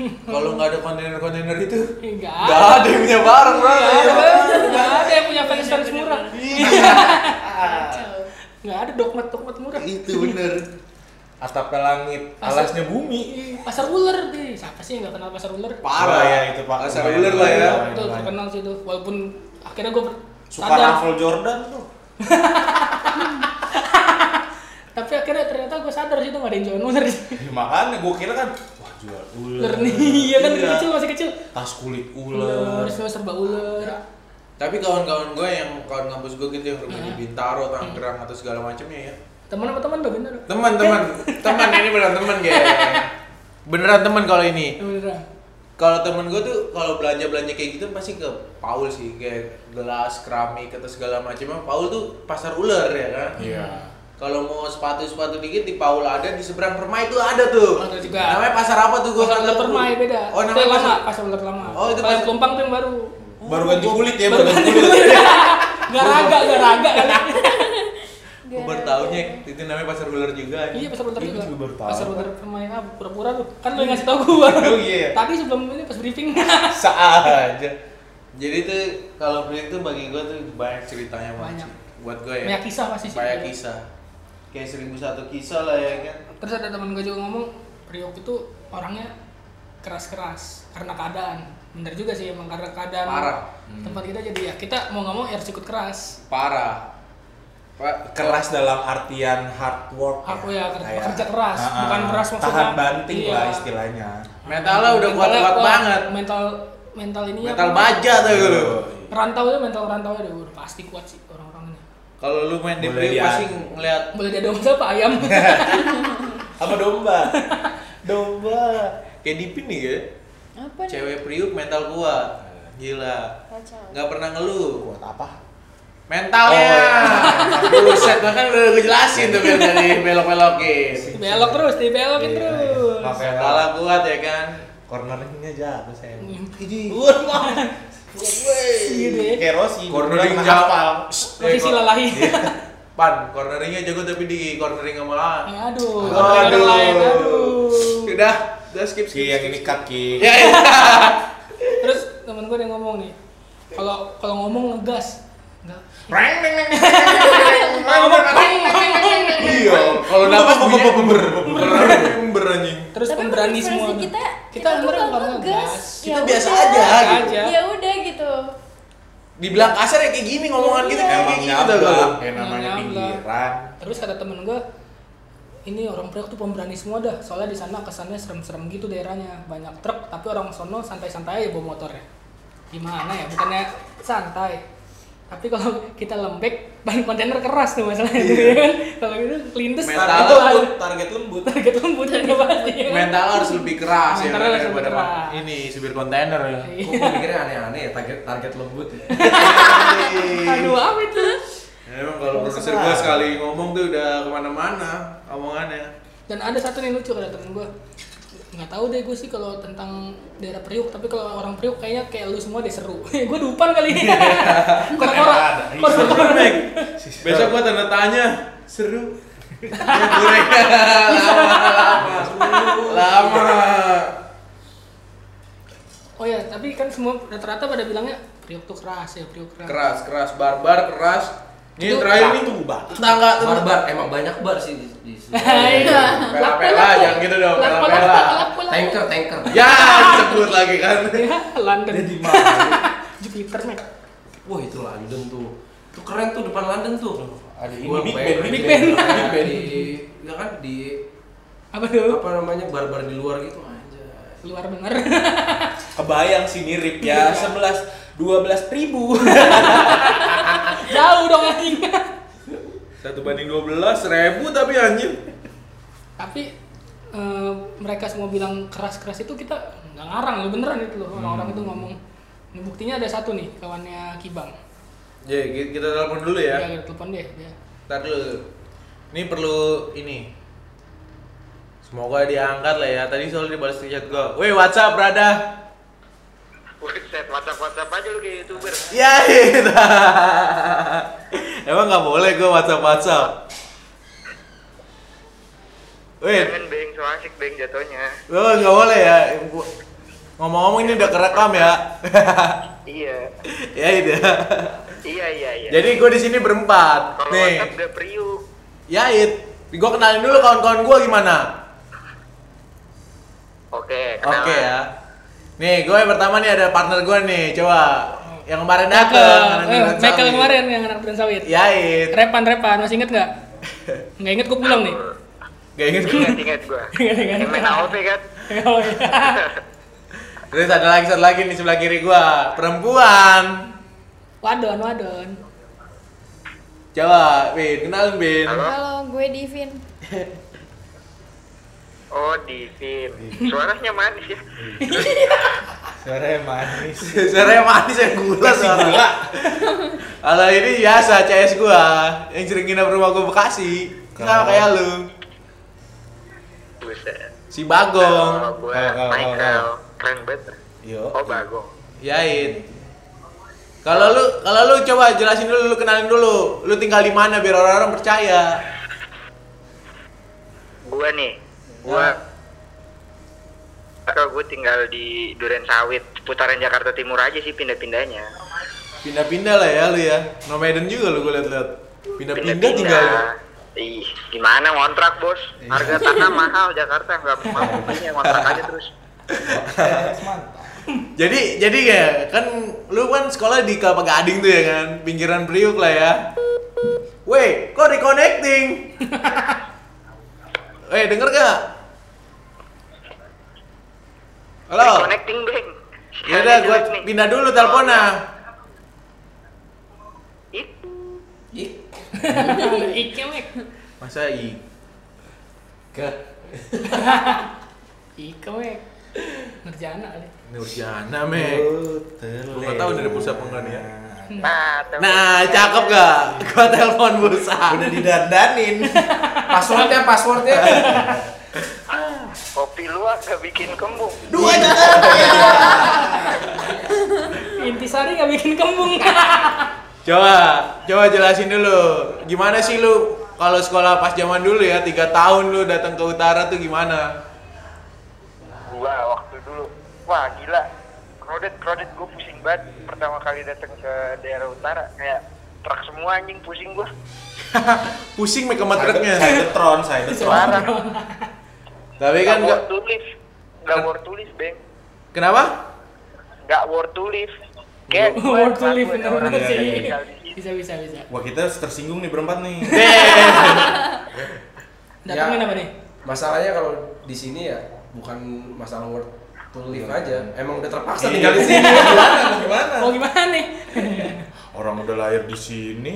Kalau nggak ada kontainer-kontainer itu,
enggak
nggak ada yang punya barang
Nggak ada,
bro.
nggak ada yang punya fans
Iya.
fans murah
Iya.
Kacau.
nggak ada dogmat dogmat murah
itu bener
atapnya langit
Asap.
alasnya bumi
Ih, pasar ular deh siapa sih yang nggak kenal pasar ular
parah
Wah, ya itu pak Iya,
pasar ular lah ya
Lumayan,
itu
lumayan.
terkenal sih itu walaupun akhirnya gue
suka raffle Jordan tuh
tapi akhirnya ternyata gue sadar sih itu nggak ada yang jualan ular
Ya, makanya gue kira kan wah jual ular
ular nih iya kan dari kecil masih kecil
tas kulit
ular
ular
semua serba ular
tapi kawan-kawan gue yang kawan kampus gue gitu yang rumah di Bintaro, Tangerang atau segala macamnya ya
teman apa teman tuh bener
teman-teman teman ini beneran teman kayak beneran teman kalau ini
beneran
kalau temen gue tuh kalau belanja belanja kayak gitu pasti ke Paul sih kayak gelas keramik atau segala macamnya Paul tuh pasar ular ya kan
Iya.
kalau mau sepatu sepatu dikit di Paul ada di seberang permai tuh ada tuh
Ada juga.
namanya pasar apa tuh gue
pasar ular permai beda
oh
itu
namanya
yang lama
pasar
pasar ular lama
Oh, itu
pasar
pasar-
pelumpang tuh yang baru
baru ganti kulit ya
Oh, baru
baru ganti
ganti
kulit
ular *laughs* nggak raga nggak raga kali
gue baru taunya itu namanya pasar ular juga
*laughs*
*laughs*
Iya pasar bentar
Iya,
juga.
gua juga baru tahu.
Pasar bentar pemain ah pura-pura lu. Kan lu yang ngasih tau gua.
Oh, iya.
Tadi sebelum ini pas briefing.
aja jadi tuh kalau beli tuh bagi gue tuh banyak ceritanya banget
Banyak.
sih. buat gue ya
Banyak kisah pasti sih.
banyak kisah kayak seribu satu kisah lah ya kan
Terus ada teman gua juga ngomong Priok itu orangnya keras-keras karena keadaan. Bener juga sih emang karena keadaan.
Parah. Hmm.
Tempat kita jadi ya kita mau nggak mau harus ikut keras.
parah Pak,
keras dalam artian hard work
Aku ya, kerja-
Kayak-
kerja keras,
Ah, ah.
bukan keras maksudnya.
tahan banting
Iya.
lah istilahnya
mentalnya udah kuat
Mentalnya
kuat banget
Mental mental ini
mental baja tuh lu
Iya.
Rantau itu mental rantau udah udah pasti kuat sih orang-orang ini.
kalau lu main di
Boleh
Priuk
lihat.
pasti ngeliat
Boleh dia domba apa
*laughs*
ayam?
apa domba *laughs* domba
kayak Dipin nih ya
Apa nih?
cewek Priuk mental kuat gila
Kacau.
nggak pernah ngeluh
buat apa
mentalnya
Oh,
*laughs* buset bahkan udah gue jelasin tuh biar dari belok-belokin
Belok terus, dibelokin
Iya, iya.
terus.
Maaf ya,
mentalnya kuat ya kan
corneringnya jago saya
Hmm.
ini wah mah
iya.
Iya deh.
kayak Rossi
Cornering
dulu kan
jago.
hafal.
Posisi lalahi.
Eh, Iya. pan corneringnya jago tapi di cornering sama lawan
Ya, aduh,
Aduh.
orang orang lain, aduh.
udah udah skip
Ki
skip,
yang
skip,
ini
skip. *laughs*
kaki
ya ya.
Terus temen gue ada yang ngomong nih, kalau kalau ngomong ngegas, enggak.
Reng, reng, reng.
iya kalau dapat bunyinya ber ber anjing
Terus
Tapi
pemberani
menurut versi
semua.
kita
kita
tuh
sebenarnya
kalau
bukan ngegas.
Kita
ya
biasa
udah.
aja,
gitu.
Ya udah gitu.
dibilang kasar ya kayak gini ngomongan kita Iya, kayak
emang
gini gitu tuh
nyablak
kalau
ya namanya
Nyablak.
pinggiran
Iya, Terus kata temen gue, ini orang Priok tuh pemberani semua dah. Soalnya di sana kesannya serem-serem gitu daerahnya, banyak truk, tapi orang sono santai-santai aja bawa motornya. Gimana ya? Bukannya santai. Tapi kalau kita lembek, ban kontainer keras tuh masalahnya. ya kan? kalau gitu lindes
Mental
Itu
Iya. lembut target lembut
target lembut udah pasti. ya kan?
mental harus lebih keras ya
Mental harus
daripada
lebih keras.
ini supir kontainer ya
Iya.
Kok gua mikirnya aneh-aneh ya target target lembut ya.
Aduh, apa itu?
Ya, *laughs* emang kalau produser gua sekali ngomong tuh udah kemana-mana omongannya
Dan ada satu nih lucu kata temen gue nggak tahu deh gue sih kalau tentang daerah Priuk tapi kalau orang Priuk kayaknya kayak lu semua deh seru *laughs* gue dupan kali ini
Ada.
orang
Iya.
Seru, Meg.
besok gua tanda tanya seru ya, goreng. lama lama
oh ya tapi kan semua rata-rata pada bilangnya Priuk tuh keras ya Priuk keras
keras keras barbar keras Ini yang terakhir nih
Batu batu.
tetangga tuh.
Barbar emang banyak bar sih di, di sini.
*laughs* Iya.
Pela-pela jangan gitu dong, pela-pela.
tanker, tanker.
Ya, disebut lagi kan.
Ya, London.
Ada di mana?
*laughs* Jupiter Mac.
Wah itu London tuh. Tuh keren tuh depan London tuh.
Ada ini
Gua
Big
lupa
Ben,
ya,
Big Ben.
Big Ben. Di, ya kan di
Apa tuh?
apa namanya barbar di luar gitu aja.
Luar bener. *laughs*
Kebayang sih mirip ya. 11 12 ribu.
Jauh dong anjing.
Satu banding 12 ribu tapi anjir.
Tapi eh, mereka semua bilang keras-keras itu kita nggak ngarang lu beneran itu loh
Hmm.
orang-orang itu ngomong. Ini buktinya ada satu nih kawannya Kibang.
Ya, ki- kita telepon dulu
Iya.
Dia
ya.
ada telepon deh dia.
Ntar dulu. Ini perlu ini. Semoga diangkat lah ya. Tadi soalnya dibalas di chat gua. Weh, WhatsApp, brada.
Buset, WhatsApp-WhatsApp aja lu kayak youtuber.
Ya itu. Emang nggak boleh gue WhatsApp WhatsApp. Wait,
Jangan beng, so asik beng jatuhnya.
lo nggak boleh ya. Ngomong-ngomong ini udah kerekam ya. *laughs*
Iya,
ya itu.
iya, iya, iya.
Jadi gue di sini berempat.
kalau
Nih,
WhatsApp udah priuk.
ya it. Gue kenalin dulu kawan-kawan gue gimana.
Oke, kenalan.
Oke ya. Nih, gue yang pertama nih ada partner gue nih. Coba yang kemarin
Ya,
dateng.
Michael, eh, Michael kemarin yang anak dan sawit.
Iya.
Yait.
Repan repan masih inget
*laughs*
nggak? Nggak inget gue pulang nih.
Gak inget gue.
Ingat-ingat gua.
Ingat-ingat.
Yang main AOV kan?
Oh, iya.
Terus ada lagi satu lagi nih sebelah kiri gua, perempuan.
Wadon wadon.
*laughs*
Coba, Bin, kenalin Bin. *laughs*
Halo, gue Divin.
Oh, Divin. Suaranya manis ya.
Suaranya manis.
Suaranya manis yang gula suara. Kalau ini biasa CS gua, yang sering nginep rumah gua Bekasi. Kenapa
Kenapa?
kayak lu?
Buset.
Si Bagong.
Kalau gua
Kalau, kalau,
Michael.
kalau.
Keren banget.
Yo.
Oh, bagong.
Yain. Kalau lu kalau lu coba jelasin dulu, lu kenalin dulu. Lu tinggal di mana biar orang-orang percaya.
Gua nih, gua kalau gua tinggal di Duren Sawit, putaran Jakarta Timur aja sih pindah-pindahnya.
Pindah-pindah lah ya lu ya. Nomaden juga lu gua liat-liat. Pindah-pindah tinggal. Iya. lu.
Ih, gimana ngontrak bos? Harga tanah mahal Jakarta nggak mau belinya ngontrak aja terus.
Jadi jadi ya kan lu kan sekolah di Kelapa Gading tuh ya kan pinggiran Priuk lah ya. Weh, kok reconnecting? *laughs* Weh, denger gak? Halo.
Connecting beng.
Ya udah gua
Jelek nih.
pindah dulu teleponnya.
Ih,
Ih,
Ike Mac.
Masa i
ke
Ike Mac. Ngerjana kali.
Nurjana, Mek. Gua nggak tahu dari pulsa apa enggak nih ya.
Nah, tahu.
Nah, cakep gak? Gua telepon Bursa.
Udah
*laughs*
didandanin.
passwordnya, passwordnya.
Kopi luwak gak bikin kembung.
Dua aja.
Intisari nggak bikin
*laughs*
kembung.
Coba, coba jelasin dulu. Gimana sih lu kalau sekolah pas zaman dulu ya, tiga tahun lu datang ke utara tuh gimana?
Gua waktu dulu, wah gila. Crowded, crowded gua pusing banget. Pertama kali datang ke daerah utara kayak truk semua anjing pusing gua.
Pusing make
Saya
metriknya.
detron, saya
*laughs*
detron.
Parah.
Tapi
Gak
kan
war
nggak- Kan-
to live. Gak war to live, Beng.
kenapa? *laughs*
Gak war to live. Kayak gua
War to
kelakuan
live
orang
bener-bener
iya,
sih.
iya,
yang Ya. tinggal di situ.
Bisa bisa bisa.
Wah kita tersinggung nih berempat nih.
Deh.
Datangin
Ya.
apa nih?
Masalahnya kalau di sini ya bukan masalah worth to live aja. Emang udah terpaksa
Iya. *laughs*
tinggal di sini. Gimana? Gimana?
Oh gimana nih?
Orang udah lahir di sini.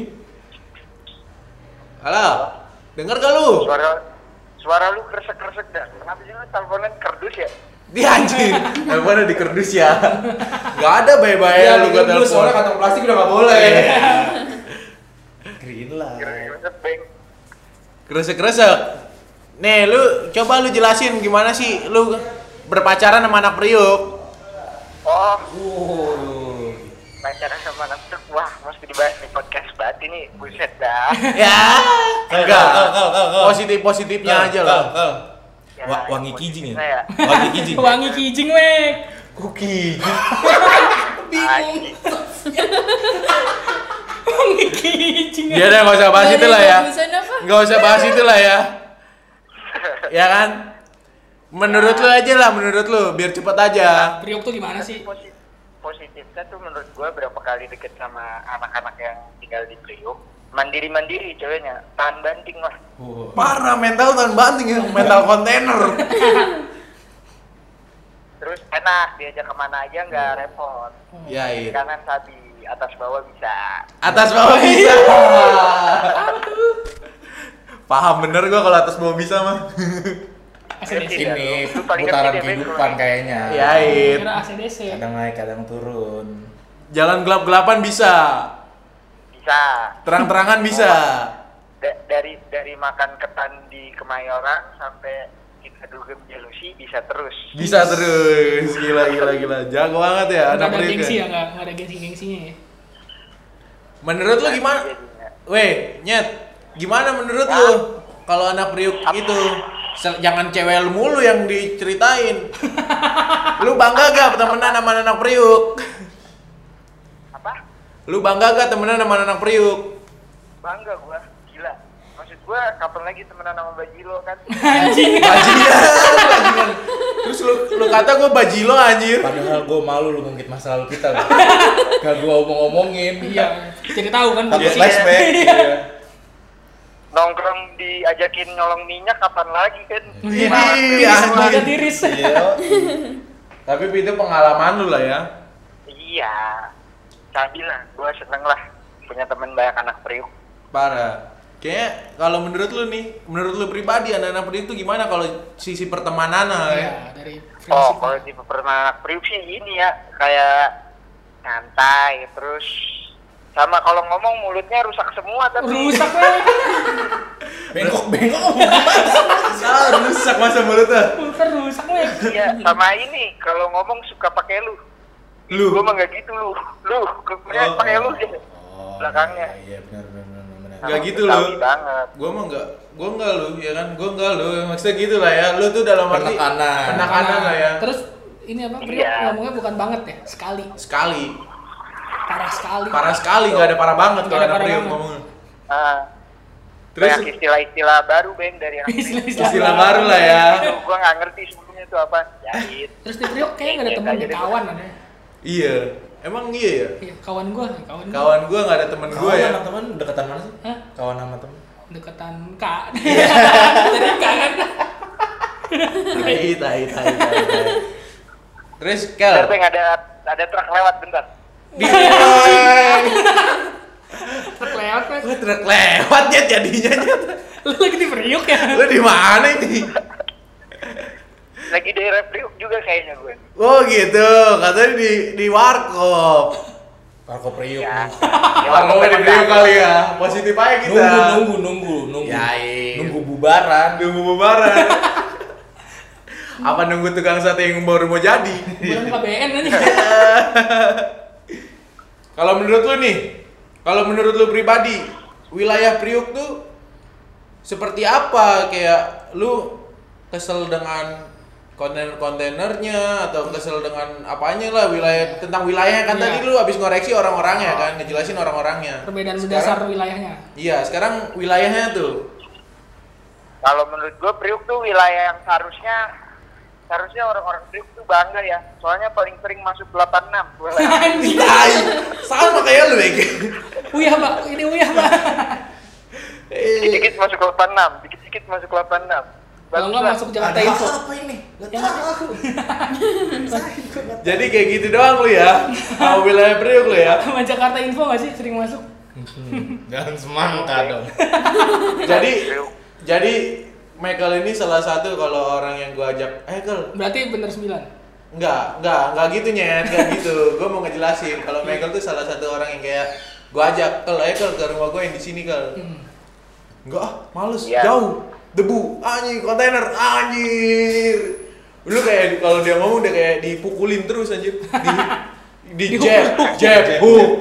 Halo. Dengar gak lu?
Suara suara lu kresek-kresek dah. Kenapa sih lu teleponan kerdus ya?
Di anjing. Teleponnya di kerdus ya. Gak ada
Iya,
bye-bye
Ya,
lu ya. gua
dulu
telepon.
soalnya kantong plastik udah gak boleh.
Green lah.
Kresek, Beng.
Kresek-kresek. Nih, lu coba lu jelasin gimana sih lu berpacaran sama anak Priuk.
Oh,
Uh,
pacaran sama anak truk. Wah, mesti dibahas di podcast banget ini. Buset
*laughs*
dah.
Ya.
Kal, kal, kal, kal, kal.
Positif-positifnya Iya aja lah.
Ya,
Wa- wangi
yang
kijing ya?
positifnya ya.
Wangi *laughs* kijing.
Wangi kijing Mac.
Kuki.
*laughs*
Anjing.
Wangi kijing. pusing
Ya udah nggak usah bahas
Nggak
itu
ada
lah ya.
bagusan apa?
Nggak usah bahas itu lah ya. Ya kan? Menurut lu aja lah, menurut lu biar cepet aja.
Priok tuh gimana sih?
Posi- positifnya tuh menurut gua berapa kali deket sama anak-anak yang tinggal di Priuk mandiri-mandiri ceweknya tahan banting lah
Oh.
Parah mental tahun banting ya, mental kontainer.
terus enak diajak kemana aja nggak
Hmm.
repot
Ya
Iya.
itu.
kanan sabi atas bawah bisa
Atas bawah bisa. Paham bener gua kalau atas bawah bisa mah.
ACDC.
ini
Lu paling
putaran
ngerti deh,
kehidupan
Bro.
kayaknya
Ya itu.
Kira ACDC.
kadang naik kadang turun
Jalan gelap-gelapan bisa.
bisa
Terang-terangan bisa.
Da- dari dari makan ketan di Kemayoran sampai kita dugem jelusi bisa terus
Bisa terus. Gila gila gila. Jago banget ya
Nggak
anak
ada
Priuk
gengsi
ya.
ya, nggak nggak ada gengsi-gengsinya ya.
Menurut lu gimana?
Jadinya.
Weh, Nyet, gimana menurut lu kalau anak priuk itu se- jangan cewek lu mulu yang diceritain. lu bangga gak temenan sama anak priuk?
apa
Lu bangga gak temenan sama anak priuk?
bangga gua gila maksud gua kapan lagi temenan sama Bajilo kan
Anjing.
Bajingan, bajingan. Terus lu lu kata gua bajilo anjir.
padahal gue malu lu ngungkit masa lalu kita loh gak gue omong omongin
Iya. Jadi tahu kan
takut
posisinya.
flashback
Iya.
nongkrong diajakin nyolong minyak kapan lagi kan Iya.
Ini
Iya,
Iya,
Mata
anjir.
tiris.
Iya.
Tapi itu pengalaman lu lah ya.
iya tapi lah gua seneng lah punya temen banyak anak priuk
Parah. Kayaknya kalau menurut lu nih, menurut lu pribadi anak-anak priuk tuh gimana kalau sisi pertemanan lah ya?
Iya, dari
oh
friendship.
kalau tipe pernah anak priuk sih ini ya kayak santai terus sama kalau ngomong mulutnya rusak semua tapi
Rusak lah.
*laughs*
bengkok bengkok
Salah rusak masa mulutnya.
Pulper rusak lah.
iya sama ini kalau ngomong suka pakai lu
Lu.
gua mah nggak gitu lu lu
Oh.
kekurangan Iya, pakai lu deh
Oh,
Belakangnya.
iya benar benar benar benar
Nggak
Sama
gitu,
Betawi
lu.
banget
Gua mah enggak, gua enggak lu, ya kan? Gua enggak lu. Maksudnya gitu lah ya. Lu tuh dalam arti
Penekanan.
penekanan lah ya.
Terus ini apa? Priok
Iya.
ngomongnya bukan banget ya, sekali.
sekali,
Parah sekali.
parah sekali, enggak ada parah banget
Nggak
kalau
ada
ada
parah
priuk
banget.
ngomongnya.
Ah,
Terus
banyak istilah-istilah baru bang dari anak priuk
istilah baru lah ya.
Aduh, gua nggak ngerti sebelumnya itu apa jahit
Terus di Priok kayaknya nggak ada
Iya,
temen
nggak
di
ada.
kawan ada.
Iya. Emang iya ya?
Iya, kawan gua, kawan gua.
Kawan gua enggak ada temen
kawan
gua ya.
sama teman deketan mana sih
Hah?
kawan sama teman
Deketan Kak. *laughs* Dari Kak kan.
Tai, tai, tai, tai,
*laughs*
tai. Terus
Bentar,
Kel,
Bang, ada ada truk lewat bentar.
*laughs*
Terlewat kan.
Gue truk lewat ya jadinya Nyet.
Lu lagi di Priok ya.
Lu di mana ini?
Lagi di Repriuk juga kayaknya
*laughs*
gue.
Oh gitu, katanya di di warkop.
Parko Priuk
Ya.
nih.
Ya,
Warkopnya di Priuk
bentar.
kali ya. Positif aja kita.
nunggu nunggu nunggu nunggu
Yain.
nunggu bubaran
Nunggu bubaran. *laughs* Apa nunggu tukang sate yang baru mau jadi? *laughs*
Bukan KBN aja.
kalau menurut lu nih, kalau menurut lu pribadi, wilayah Priuk tuh seperti apa? Kayak lu kesel dengan kontainer-kontainernya atau kesel dengan apanya lah wilayah tentang wilayahnya kan
Iya. Oh.
tadi lu habis ngoreksi orang-orangnya kan ngejelasin orang-orangnya
Perbedaan
Sekarang-
mendasar wilayahnya.
iya sekarang wilayahnya tuh
Kalau menurut gue Priuk tuh wilayah yang harusnya harusnya orang-orang Priuk tuh bangga ya. Soalnya paling sering masuk 86. Gue lah.
Anjing.
Tai. sama kayak lu
*laughs*
Bek.
Uyah, Pak. Ini uyah, Pak. Iya,
Eh.
Dikit-dikit masuk 86, dikit-dikit masuk 86.
Kalau nggak masuk Jakarta Info.
ini gak
Ya.
tahu aku
Jadi kayak gitu doang lu ya. Sama wilayah Priuk lu ya.
Sama Jakarta Info nggak sih sering masuk?
Hmm, jangan semangka dong
Jadi jadi Michael ini salah satu kalau orang yang gua ajak, eh Kel,
Berarti bener 9.
enggak, enggak, enggak gitu nyet, enggak gitu. Gua mau ngejelasin kalau Michael tuh salah satu orang yang kayak gua ajak, Kel, eh Kel ke rumah gua yang di sini Kel.
Hmm.
Enggak, ah, males,
Iya.
jauh, debu, anjing, kontainer, anjir. Lu kayak kalau dia ngomong udah kayak dipukulin terus anjir. Di
*laughs*
di jab, jab, *laughs* hook.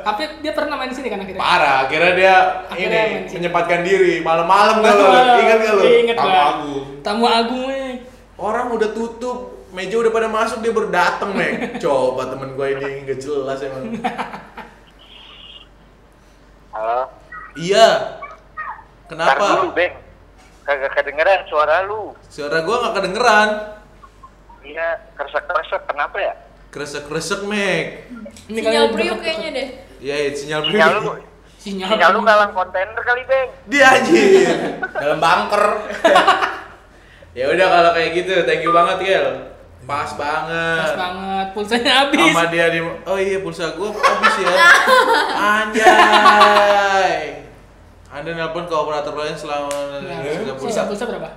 Tapi dia pernah main sini kan akhirnya.
Parah, akhirnya dia
Akhirnya
ini
mancing.
menyempatkan diri malam-malam gak lo? Ingat gak lo?
Ingat
Tamu
Bang.
Agung.
Tamu Agung. eh. weh.
Orang udah tutup, meja udah pada masuk dia baru dateng Mek. Coba temen gue ini nggak jelas emang. Iya.
Ah, Ntar
Kenapa?
dulu, Beng. Kagak kedengeran suara lu.
Suara gua nggak kedengeran.
Iya, keresek-keresek. Kenapa ya?
Kresek-kresek, Mek.
Sinyal priuk kayaknya deh.
Ya, itu sinyal
Sinyal lu,
priuk.
Sinyal,
sinyal lu kalang kontainer kali, Beng.
Dia anjir.
dalam bunker
ya udah kalau kayak gitu, thank you banget, Gel. Pas banget.
Pas banget, pulsanya habis.
Sama dia di Oh iya, pulsa gua habis ya. Anjay. Anda nelpon ke operator lain selama
Nah,
tiga puluh
Sisa pulsa berapa?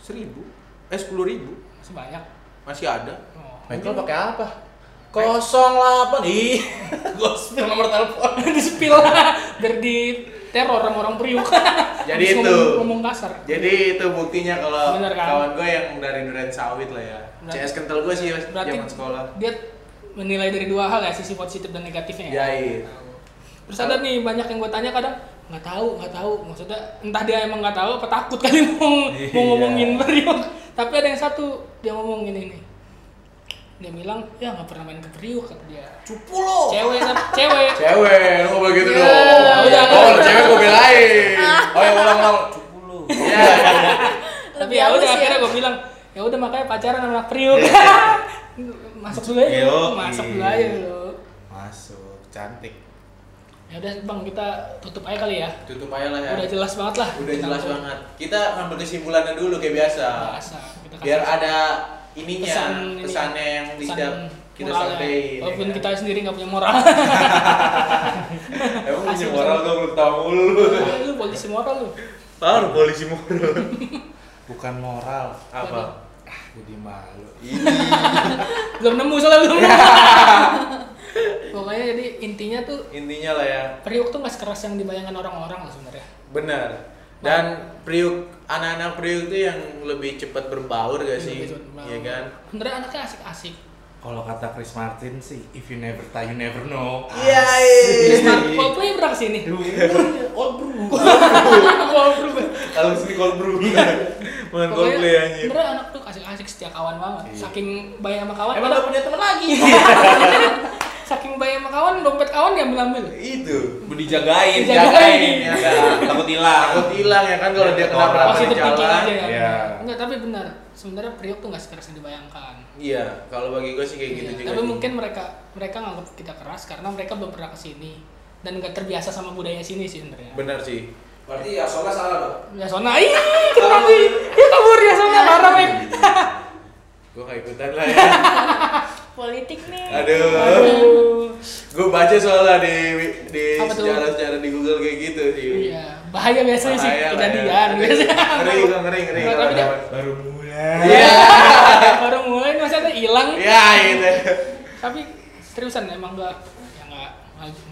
seribu, eh sepuluh ribu
Sebanyak.
masih ada.
Oh.
Michael pakai apa 08 ih gue
*laughs*
spill nomor telepon
di spill lah, biar di teror sama orang priuk.
Jadi
Terus
itu.
ngomong, ngomong kasar.
Jadi itu buktinya kalau
Bener kan?
kawan gue yang dari Duren Sawit lah ya.
Berarti-
CS kental gue sih
Berarti
zaman sekolah.
dia menilai dari dua hal ya, sisi positif dan negatifnya ya.
Jahit.
Terus ada nih banyak yang gue tanya kadang nggak tahu, nggak tahu. Maksudnya entah dia emang nggak tahu apa takut kali *laughs* mau, mau
Iya.
ngomongin Priuk. Tapi ada yang satu dia ngomong gini nih. Dia bilang, ya nggak pernah main ke Priuk kata dia.
cupu lo
Cewek, tapi- cewek.
Cewek, lu ngomong gitu
Ya,
dong.
udah.
Oh, kalau cewek gue
*laughs*
belain. Oh ya ulang ulang.
cupu lo
Ya.
Tapi
Lebih
ya udah
halus ya. Iya.
akhirnya gue bilang, ya udah makanya pacaran sama anak Priuk. *laughs* masuk dulu aja,
Yo,
lu. masuk dulu
iya.
aja lo.
masuk cantik
Ya udah bang kita tutup aja kali ya.
Tutup aja lah ya.
Udah jelas banget lah.
Udah jelas banget. Kita ngambil kesimpulannya dulu kayak biasa.
Biasa. Kita kasih
Biar ada ininya,
pesan ini, ya.
pesannya yang
pesan
bisa kita
moral ya.
sampaikan.
Walaupun
ya
kita
kan?
sendiri nggak punya
*laughs*
moral.
Emang punya
kasih
moral gue belum tahu lu.
Eh, lu polisi moral lu.
Taruh polisi moral.
bukan moral
Apa?
ah jadi malu
Belum nemu soalnya belum. nemu.
*laughs*
Pokoknya jadi intinya tuh
Intinya lah ya.
Priuk tuh nggak sekeras yang dibayangkan orang-orang lah sebenarnya.
Benar. Dan Priuk anak-anak Priuk itu yang lebih cepat berbaur gak sih?
Lebih cepat
Iya kan?
Sebenarnya anaknya asik-asik.
kalau kata Chris Martin sih if you never try you never know Ah,
Iya.
Terus Coldplay pernah kesini.
oh bro
Kalau sini call brew. Bukan call
Pokoknya
play anjir.
sebenarnya anak tuh asik-asik setia kawan banget.
Iya.
Saking baik sama kawan. Iya.
Emang gak punya teman lagi?
*laughs* Saking baik sama kawan, dompet kawan diambil-ambil.
Itu. Iya
Udah dijagain
Dijagain.
jagain ya kan takut hilang
Takut hilang ya kan kalau dia kenapa
Masih
napa di
terpikir
jalan.
aja ya.
Iya.
Enggak, tapi benar. Sebenarnya Priok tuh nggak sekeras yang dibayangkan.
Iya, kalau bagi gue sih kayak gitu
Iya,
juga.
tapi
sih.
mungkin mereka mereka nganggap kita keras karena mereka belum pernah kesini dan nggak terbiasa sama budaya sini sih sebenarnya.
benar sih.
Berarti ya soalnya salah dong.
Ya sona, iya kenapa? Iya kabur ya sona, marah men.
Gue gak ikutan lah
*laughs*
ya.
Politik nih.
Aduh.
Aduh.
Gue baca soalnya di di
Apa tuh?
sejarah-sejarah di Google kayak gitu sih.
Iya, bahaya biasanya sih
Bahaya lah ya.
kejadian
Aduh,
biasanya.
Ngeri gue ngeri ngeri.
Tapi
kalau
dia-
dapat.
baru mulai
Iya.
*laughs* Baru mulai masa tuh hilang.
Iya gitu.
Tapi seriusan emang nggak ya nggak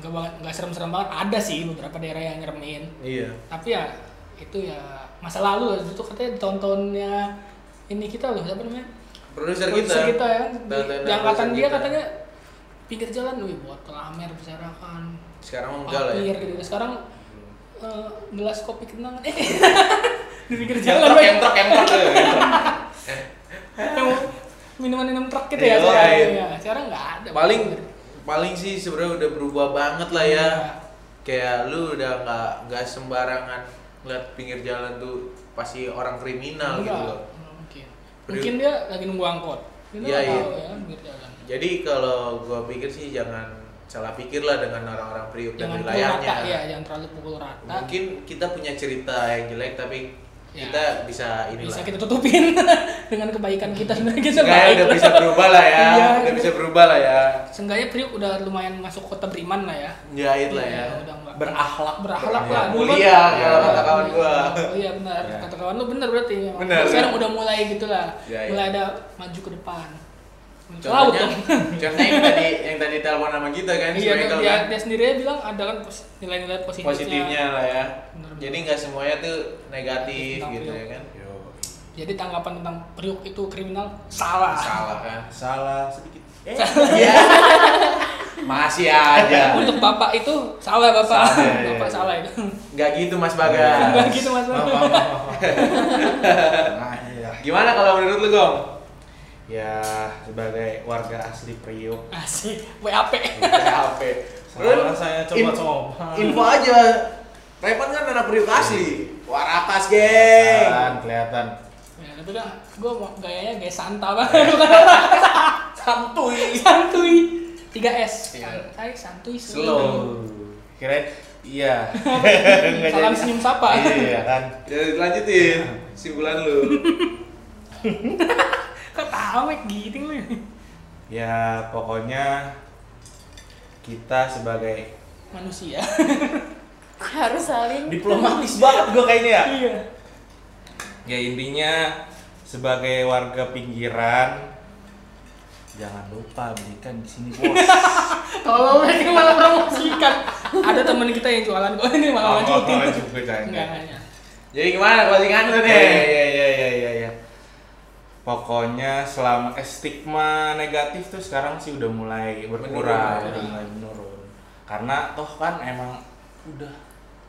nggak banget nggak serem-serem banget. Ada sih beberapa daerah yang nyeremin.
Iya.
tapi ya itu ya masa lalu lah itu katanya ditontonnya ini kita loh siapa namanya
Produser kita.
Produser kita ya
Tontonan
yang angkatan
produser
dia
kita.
katanya pinggir jalan wih botol amer berserakan
Sekarang mah enggak lah ya. Hmm.
papir gitu sekarang eh, gelas kopi kenangan *laughs* eh di pinggir *laughs* jalan
Entrok
Bay.
entrok entrok. gitu.
yang minuman enam truk gitu
Iya,
ya sekarang
iya.
ya. sekarang nggak ada
Paling paling sih sebenarnya udah berubah banget lah
Iya.
ya. Kayak lu udah nggak nggak sembarangan ngeliat pinggir jalan tuh pasti orang kriminal gitu
Enggak,
loh.
mungkin mungkin dia lagi nunggu angkot
Iya,
Kita nggak
iya.
tahu ya pinggir jalan
Jadi kalau gua pikir sih jangan salah pikir lah dengan orang-orang Priuk dan
jangan pukul
wilayahnya.
rata ya jangan terlalu pukul rata
Mungkin kita punya cerita yang jelek tapi
Ya.
kita bisa inilah.
bisa
*laughs*
kita tutupin *laughs* dengan kebaikan kita sebenarnya kita
Seenggaknya udah
baik
bisa berubah lah ya.
Iya,
udah
gitu.
bisa berubah lah ya.
Seenggaknya Priuk udah lumayan masuk kota beriman lah ya
Jahit lah ya.
udah nggak-
berakhlak
berakhlak
Iya,
lah Dulu kan-
Mulia kalau kata kawan gua.
Oh iya benar
Iya.
kata kawan lu benar berarti memang.
Benar.
sekarang udah mulai gitulah
Iya, iya.
mulai ada maju ke depan Menuju laut
Contohnya,
dong
contohnya yang tadi yang tadi telepon sama kita kan, si
iya dia,
Michael
dia,
kan?
dia sendiri aja bilang ada kan pos- nilai-nilai positifnya,
positifnya lah ya.
Bener, bener.
Jadi nggak semuanya tuh negatif
Tentang
gitu ya
Priuk.
kan?
yo
jadi tanggapan tentang Priuk itu kriminal salah
Salah kan?
salah sedikit eh
*laughs* Iya. Masih aja.
untuk bapak itu salah bapak
Salah, iya, iya.
bapak salah itu *laughs*
Nggak gitu Mas
nggak
Bagas.
gitu mas
Maaf, maaf, maaf, *laughs* maaf. nah iya
Gimana kalau menurut lu Gong?
ya sebagai warga asli Priok
asik WAP
PHP.
Salah saya coba-coba.
Info aja. Revan kan anak Priuk asli. Warakas, geng.
Kelihatan, kelihatan.
Ya, tapi kan gue mau gayanya gaya santa banget.
Iya.
*laughs* Bukan orang
Santuy.
santuy. 3S.
Iya.
Santai, santuy,
Slow.
Kirain iya. Nggak
Salam
jadi.
senyum sapa.
Iya, Iya kan.
Ya lanjutin simpulan lu.
Kok tahu Mek? giting lu.
Ya pokoknya kita sebagai
*laughs*
Manusia.
harus saling
diplomatis banget gue kayaknya ya.
Iya.
Ya intinya sebagai warga pinggiran jangan lupa belikan di sini bos.
Tolong Mek, ini malah promosikan. Ada temen kita yang jualan kok ini malah lanjutin.
Oh, juga jangan.
Enggak,
Iya.
enggak.
Jadi gimana closingan lu
Iya
nih?
iya iya iya iya. iya. Pokoknya selama eh, stigma negatif tuh sekarang sih udah mulai berkurang,
Menurun,
udah
ya.
mulai menurun. Karena toh kan emang udah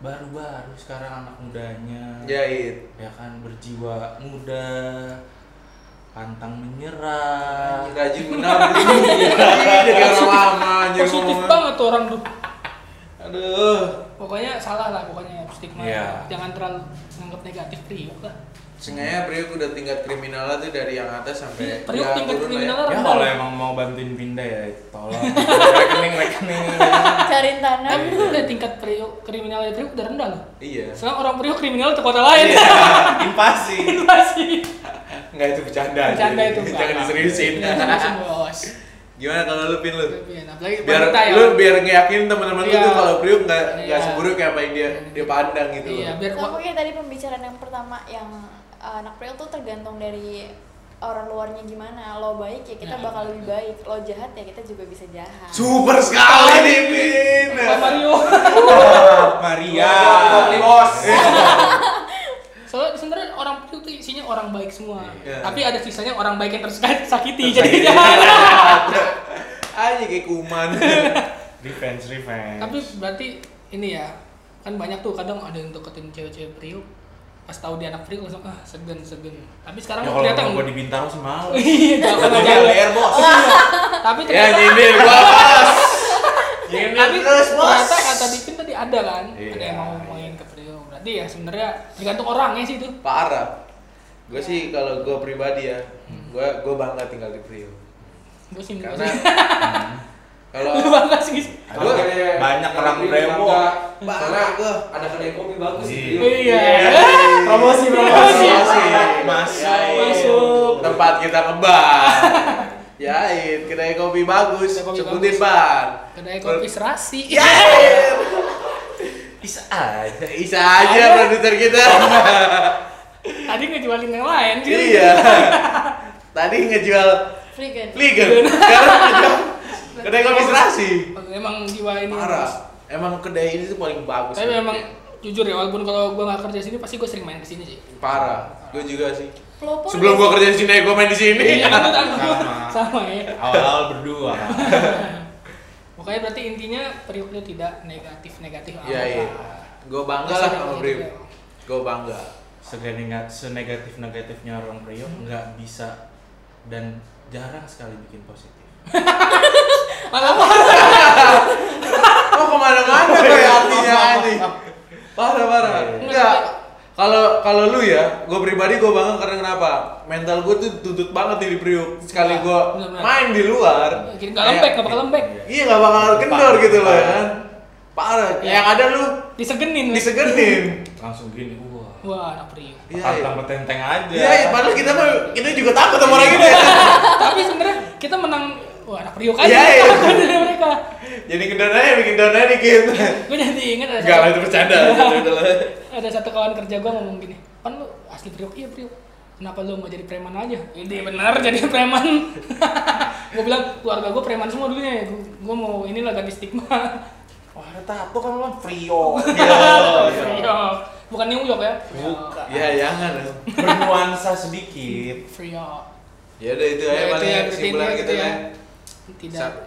baru-baru sekarang anak mudanya.
Jahit.
Ya kan berjiwa muda, pantang menyerah.
Rajin benar *laughs* gitu. Iya, lama anjir
Positif
ngomongnya.
banget tuh orang tuh.
Aduh.
Pokoknya salah lah pokoknya ya, stigma.
Iya.
Jangan terlalu menganggap negatif priuk lah.
Sengaja Priuk udah tingkat kriminalnya tuh dari yang atas sampai
Priuk
ya,
Iya, tingkat
turun lah ya.
kriminalnya
Ya
rendah.
kalau emang mau bantuin pindah ya tolong rekening rekening.
cari tanah
Kan itu udah tingkat priuk kriminal dari priuk udah rendah loh.
Iya.
Sekarang orang priuk kriminal ke kota *laughs* lain.
*laughs* Invasi.
Masih.
Enggak itu bercanda.
Bercanda
anjir.
itu, Bang.
Jangan diseriusin.
Masih bos.
Gimana kalau lu pin lu?
Tapi enak. Apalagi
biar
wanita ya.
lu biar ngeyakin teman-teman lu
Iya.
tuh kalau Priuk nggak nggak
Iya.
seburuk kayak apa yang dia dia pandang gitu.
Iya, biar
Nah, mungkin tadi pembicaraan yang pertama yang uh, anak priok tuh tergantung dari orang luarnya gimana lo baik ya kita
Nah.
bakal lebih baik lo jahat ya kita juga bisa jahat
Super sekali nih Pin.
Pak Mario.
Maria.
Nih,
*laughs*
bos.
Soalnya sebenarnya orang priuk tuh isinya orang baik semua.
Iya.
Tapi ada sisanya orang baik yang tersakiti. Jadi jangan.
*laughs* Aja kayak kuman.
Revenge revenge.
Tapi berarti ini ya kan banyak tuh kadang ada yang deketin cewek-cewek priuk pas tahu dia anak priuk langsung ah segen segen tapi sekarang
ya kalau
ternyata
mau gue di Bintaro sih mau.
*laughs* iya jangan pernah
Jangan
jalan.
LDR bos.
tapi
Ya
ternyata
nyindir gua bos. Nyindir
tapi
terus bos.
ternyata kata Dipin tadi ada kan ada
Iya,
yang mau
iya.
main ke Priok berarti ya sebenarnya tergantung orangnya sih itu
Parah. Gue sih kalau gue pribadi ya, gue gue bangga tinggal di Priuk.
gue sih enggak
Karena
sih *laughs* lu
kalau
bangga sih
Ada banyak orang Bremo.
Parah gue.
Ada kedai kopi bagus.
Iya.
Priuk.
iya
Promosi
Promosi.
Masuk.
Masuk.
Tempat kita ngebar. Yain, kedai kopi bagus,
Kedai kopi
sebutin
bagus.
ban.
kedai kopi serasi
Iya. Yain,
Bisa aja.
bisa aja produser kita.
tadi ngejualin yang lain gitu. sih
iya. Tadi ngejual
Vegan.
legal, sekarang ngejual kedai kopi serasi.
emang jiwa ini
Parah. Emang kedai ini tuh paling bagus.
tapi memang jujur ya walaupun kalau gue nggak kerja sini pasti gue sering main kesini sih
parah. Gue juga sih.
lo
Oh,
pun ya.
Sebelum gua kerja di sini, gua main di sini.
Iya, itu kan.
Sama.
sama ya
Awal-awal berdua.
pokoknya berarti intinya Priok itu tidak negatif negatif
Iya, iya. Gue bangga lah sama Brim. Gue bangga.
Segeningat, senegatif negatifnya orang Priok nggak bisa dan jarang sekali bikin positif.
malah
Oh *laughs* kemana-mana kayak artinya anjing. Parah parah. Enggak. Kalau kalau lu ya, gue pribadi gue bangga karena kenapa? Mental gue tuh tuntut banget nih di Priuk. Sekali gue
Iya, Bener-bener.
main di luar,
Gini, nggak lembek nggak bakal lembek
iya nggak bakal kendor gitu loh ya kan. Parah.
Iya.
Yang ada lu
disegenin
disegenin.
Langsung gini, wah.
wah anak Priok
Iya.
Tantang petenteng aja.
Iya, iya, padahal kita mah kita juga takut sama orang
*laughs*
gitu ya.
tapi sebenarnya kita menang wah anak Priok aja
Iya, iya.
Takut dari mereka
Jadi kendor aja, bikin kendor aja dikit.
gue jadi ingat ada
Enggak lah itu
satu,
bercanda.
Iya. Gitu,
Itu lah.
*laughs* ada satu kawan kerja gue ngomong gini pan lu asli Priok iya Priok kenapa lu mau jadi preman aja ini bener jadi preman *laughs* gue bilang keluarga gue preman semua dulunya ya gue mau inilah ganti stigma
Wah, ada tato kan lo Priok.
Priok bukan New York ya Priok
Bukan.
Ya jangan. dong.
Iya. Bernuansa sedikit.
Priok
Ya udah itu
Ya,
aja
itu
paling
ya, berarti
kesimpulan
intinya
kita
gitu ya.
ya.
tidak
Sa-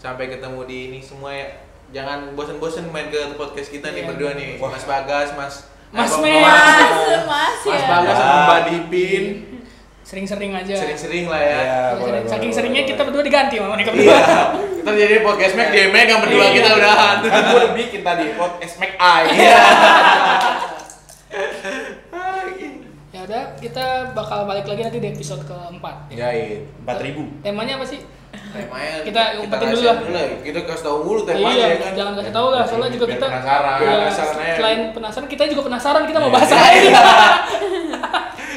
sampai ketemu di ini semua ya. Jangan bosen-bosen main ke podcast kita nih
Iya.
berdua nih.
Wah.
Mas Bagas, Mas
Mas Iya.
Abang
Mer.
Mas,
mas mas
Mas
ya
Bagas sama
Ya.
Mbak Dipin.
sering-sering aja Iya.
Sering-sering lah ya.
Ya, boleh,
Saking
boleh,
seringnya
*laughs*
boleh.
kita berdua diganti sama mereka
Iya.
berdua.
Ntar jadi podcast Mac di Mac yang berdua kita udahan.
Kan gue udah bikin tadi podcast make eye.
*laughs*
Iya.
ya udah kita bakal balik lagi nanti di episode keempat ya.
Jahit.
Iya, Empat ribu.
temanya apa sih
Temanya
Kita umpetin dulu
rahasiain
lah.
dulu Kita kasih tahu mulu temanya
iya,
ya kan.
jangan kasih tahu lah, soalnya juga
Biar
kita
penasaran.
ya,
Penasaran aja.
selain penasaran, kita juga penasaran kita mau
Iya.
bahas apa. Iya,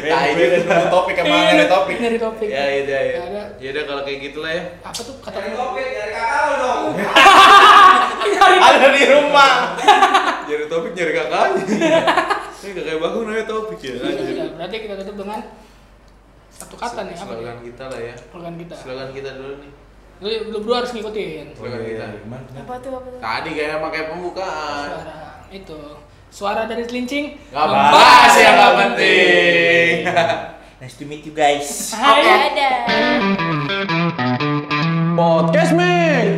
Tai gue Nah, udah nemu topik emang
Iya,
ada topik.
Nyari topik.
Ya iya iya.
Ya, udah.
Ya udah kalau kayak gitulah ya. *laughs*
Apa tuh kata lu?
Ada di rumah.
Nyari topik nyari
*laughs*
kakaknya. Ini kakak bagus namanya topik ya.
Iya, iya. Berarti kita tutup dengan satu kata nih apa? ya?
Slogan kita lah ya.
Slogan kita.
Slogan kita dulu nih.
Lu lu berdua harus ngikutin.
Slogan kita.
apa tuh apa tuh
Tadi kayak pakai pembukaan.
Suara itu. Suara dari kelincing.
Gak bahas yang gak penting.
Nice to meet you guys.
Oke,
Hai.
dadah.
Podcast Mac.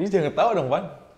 Ini jangan tahu dong, Pan.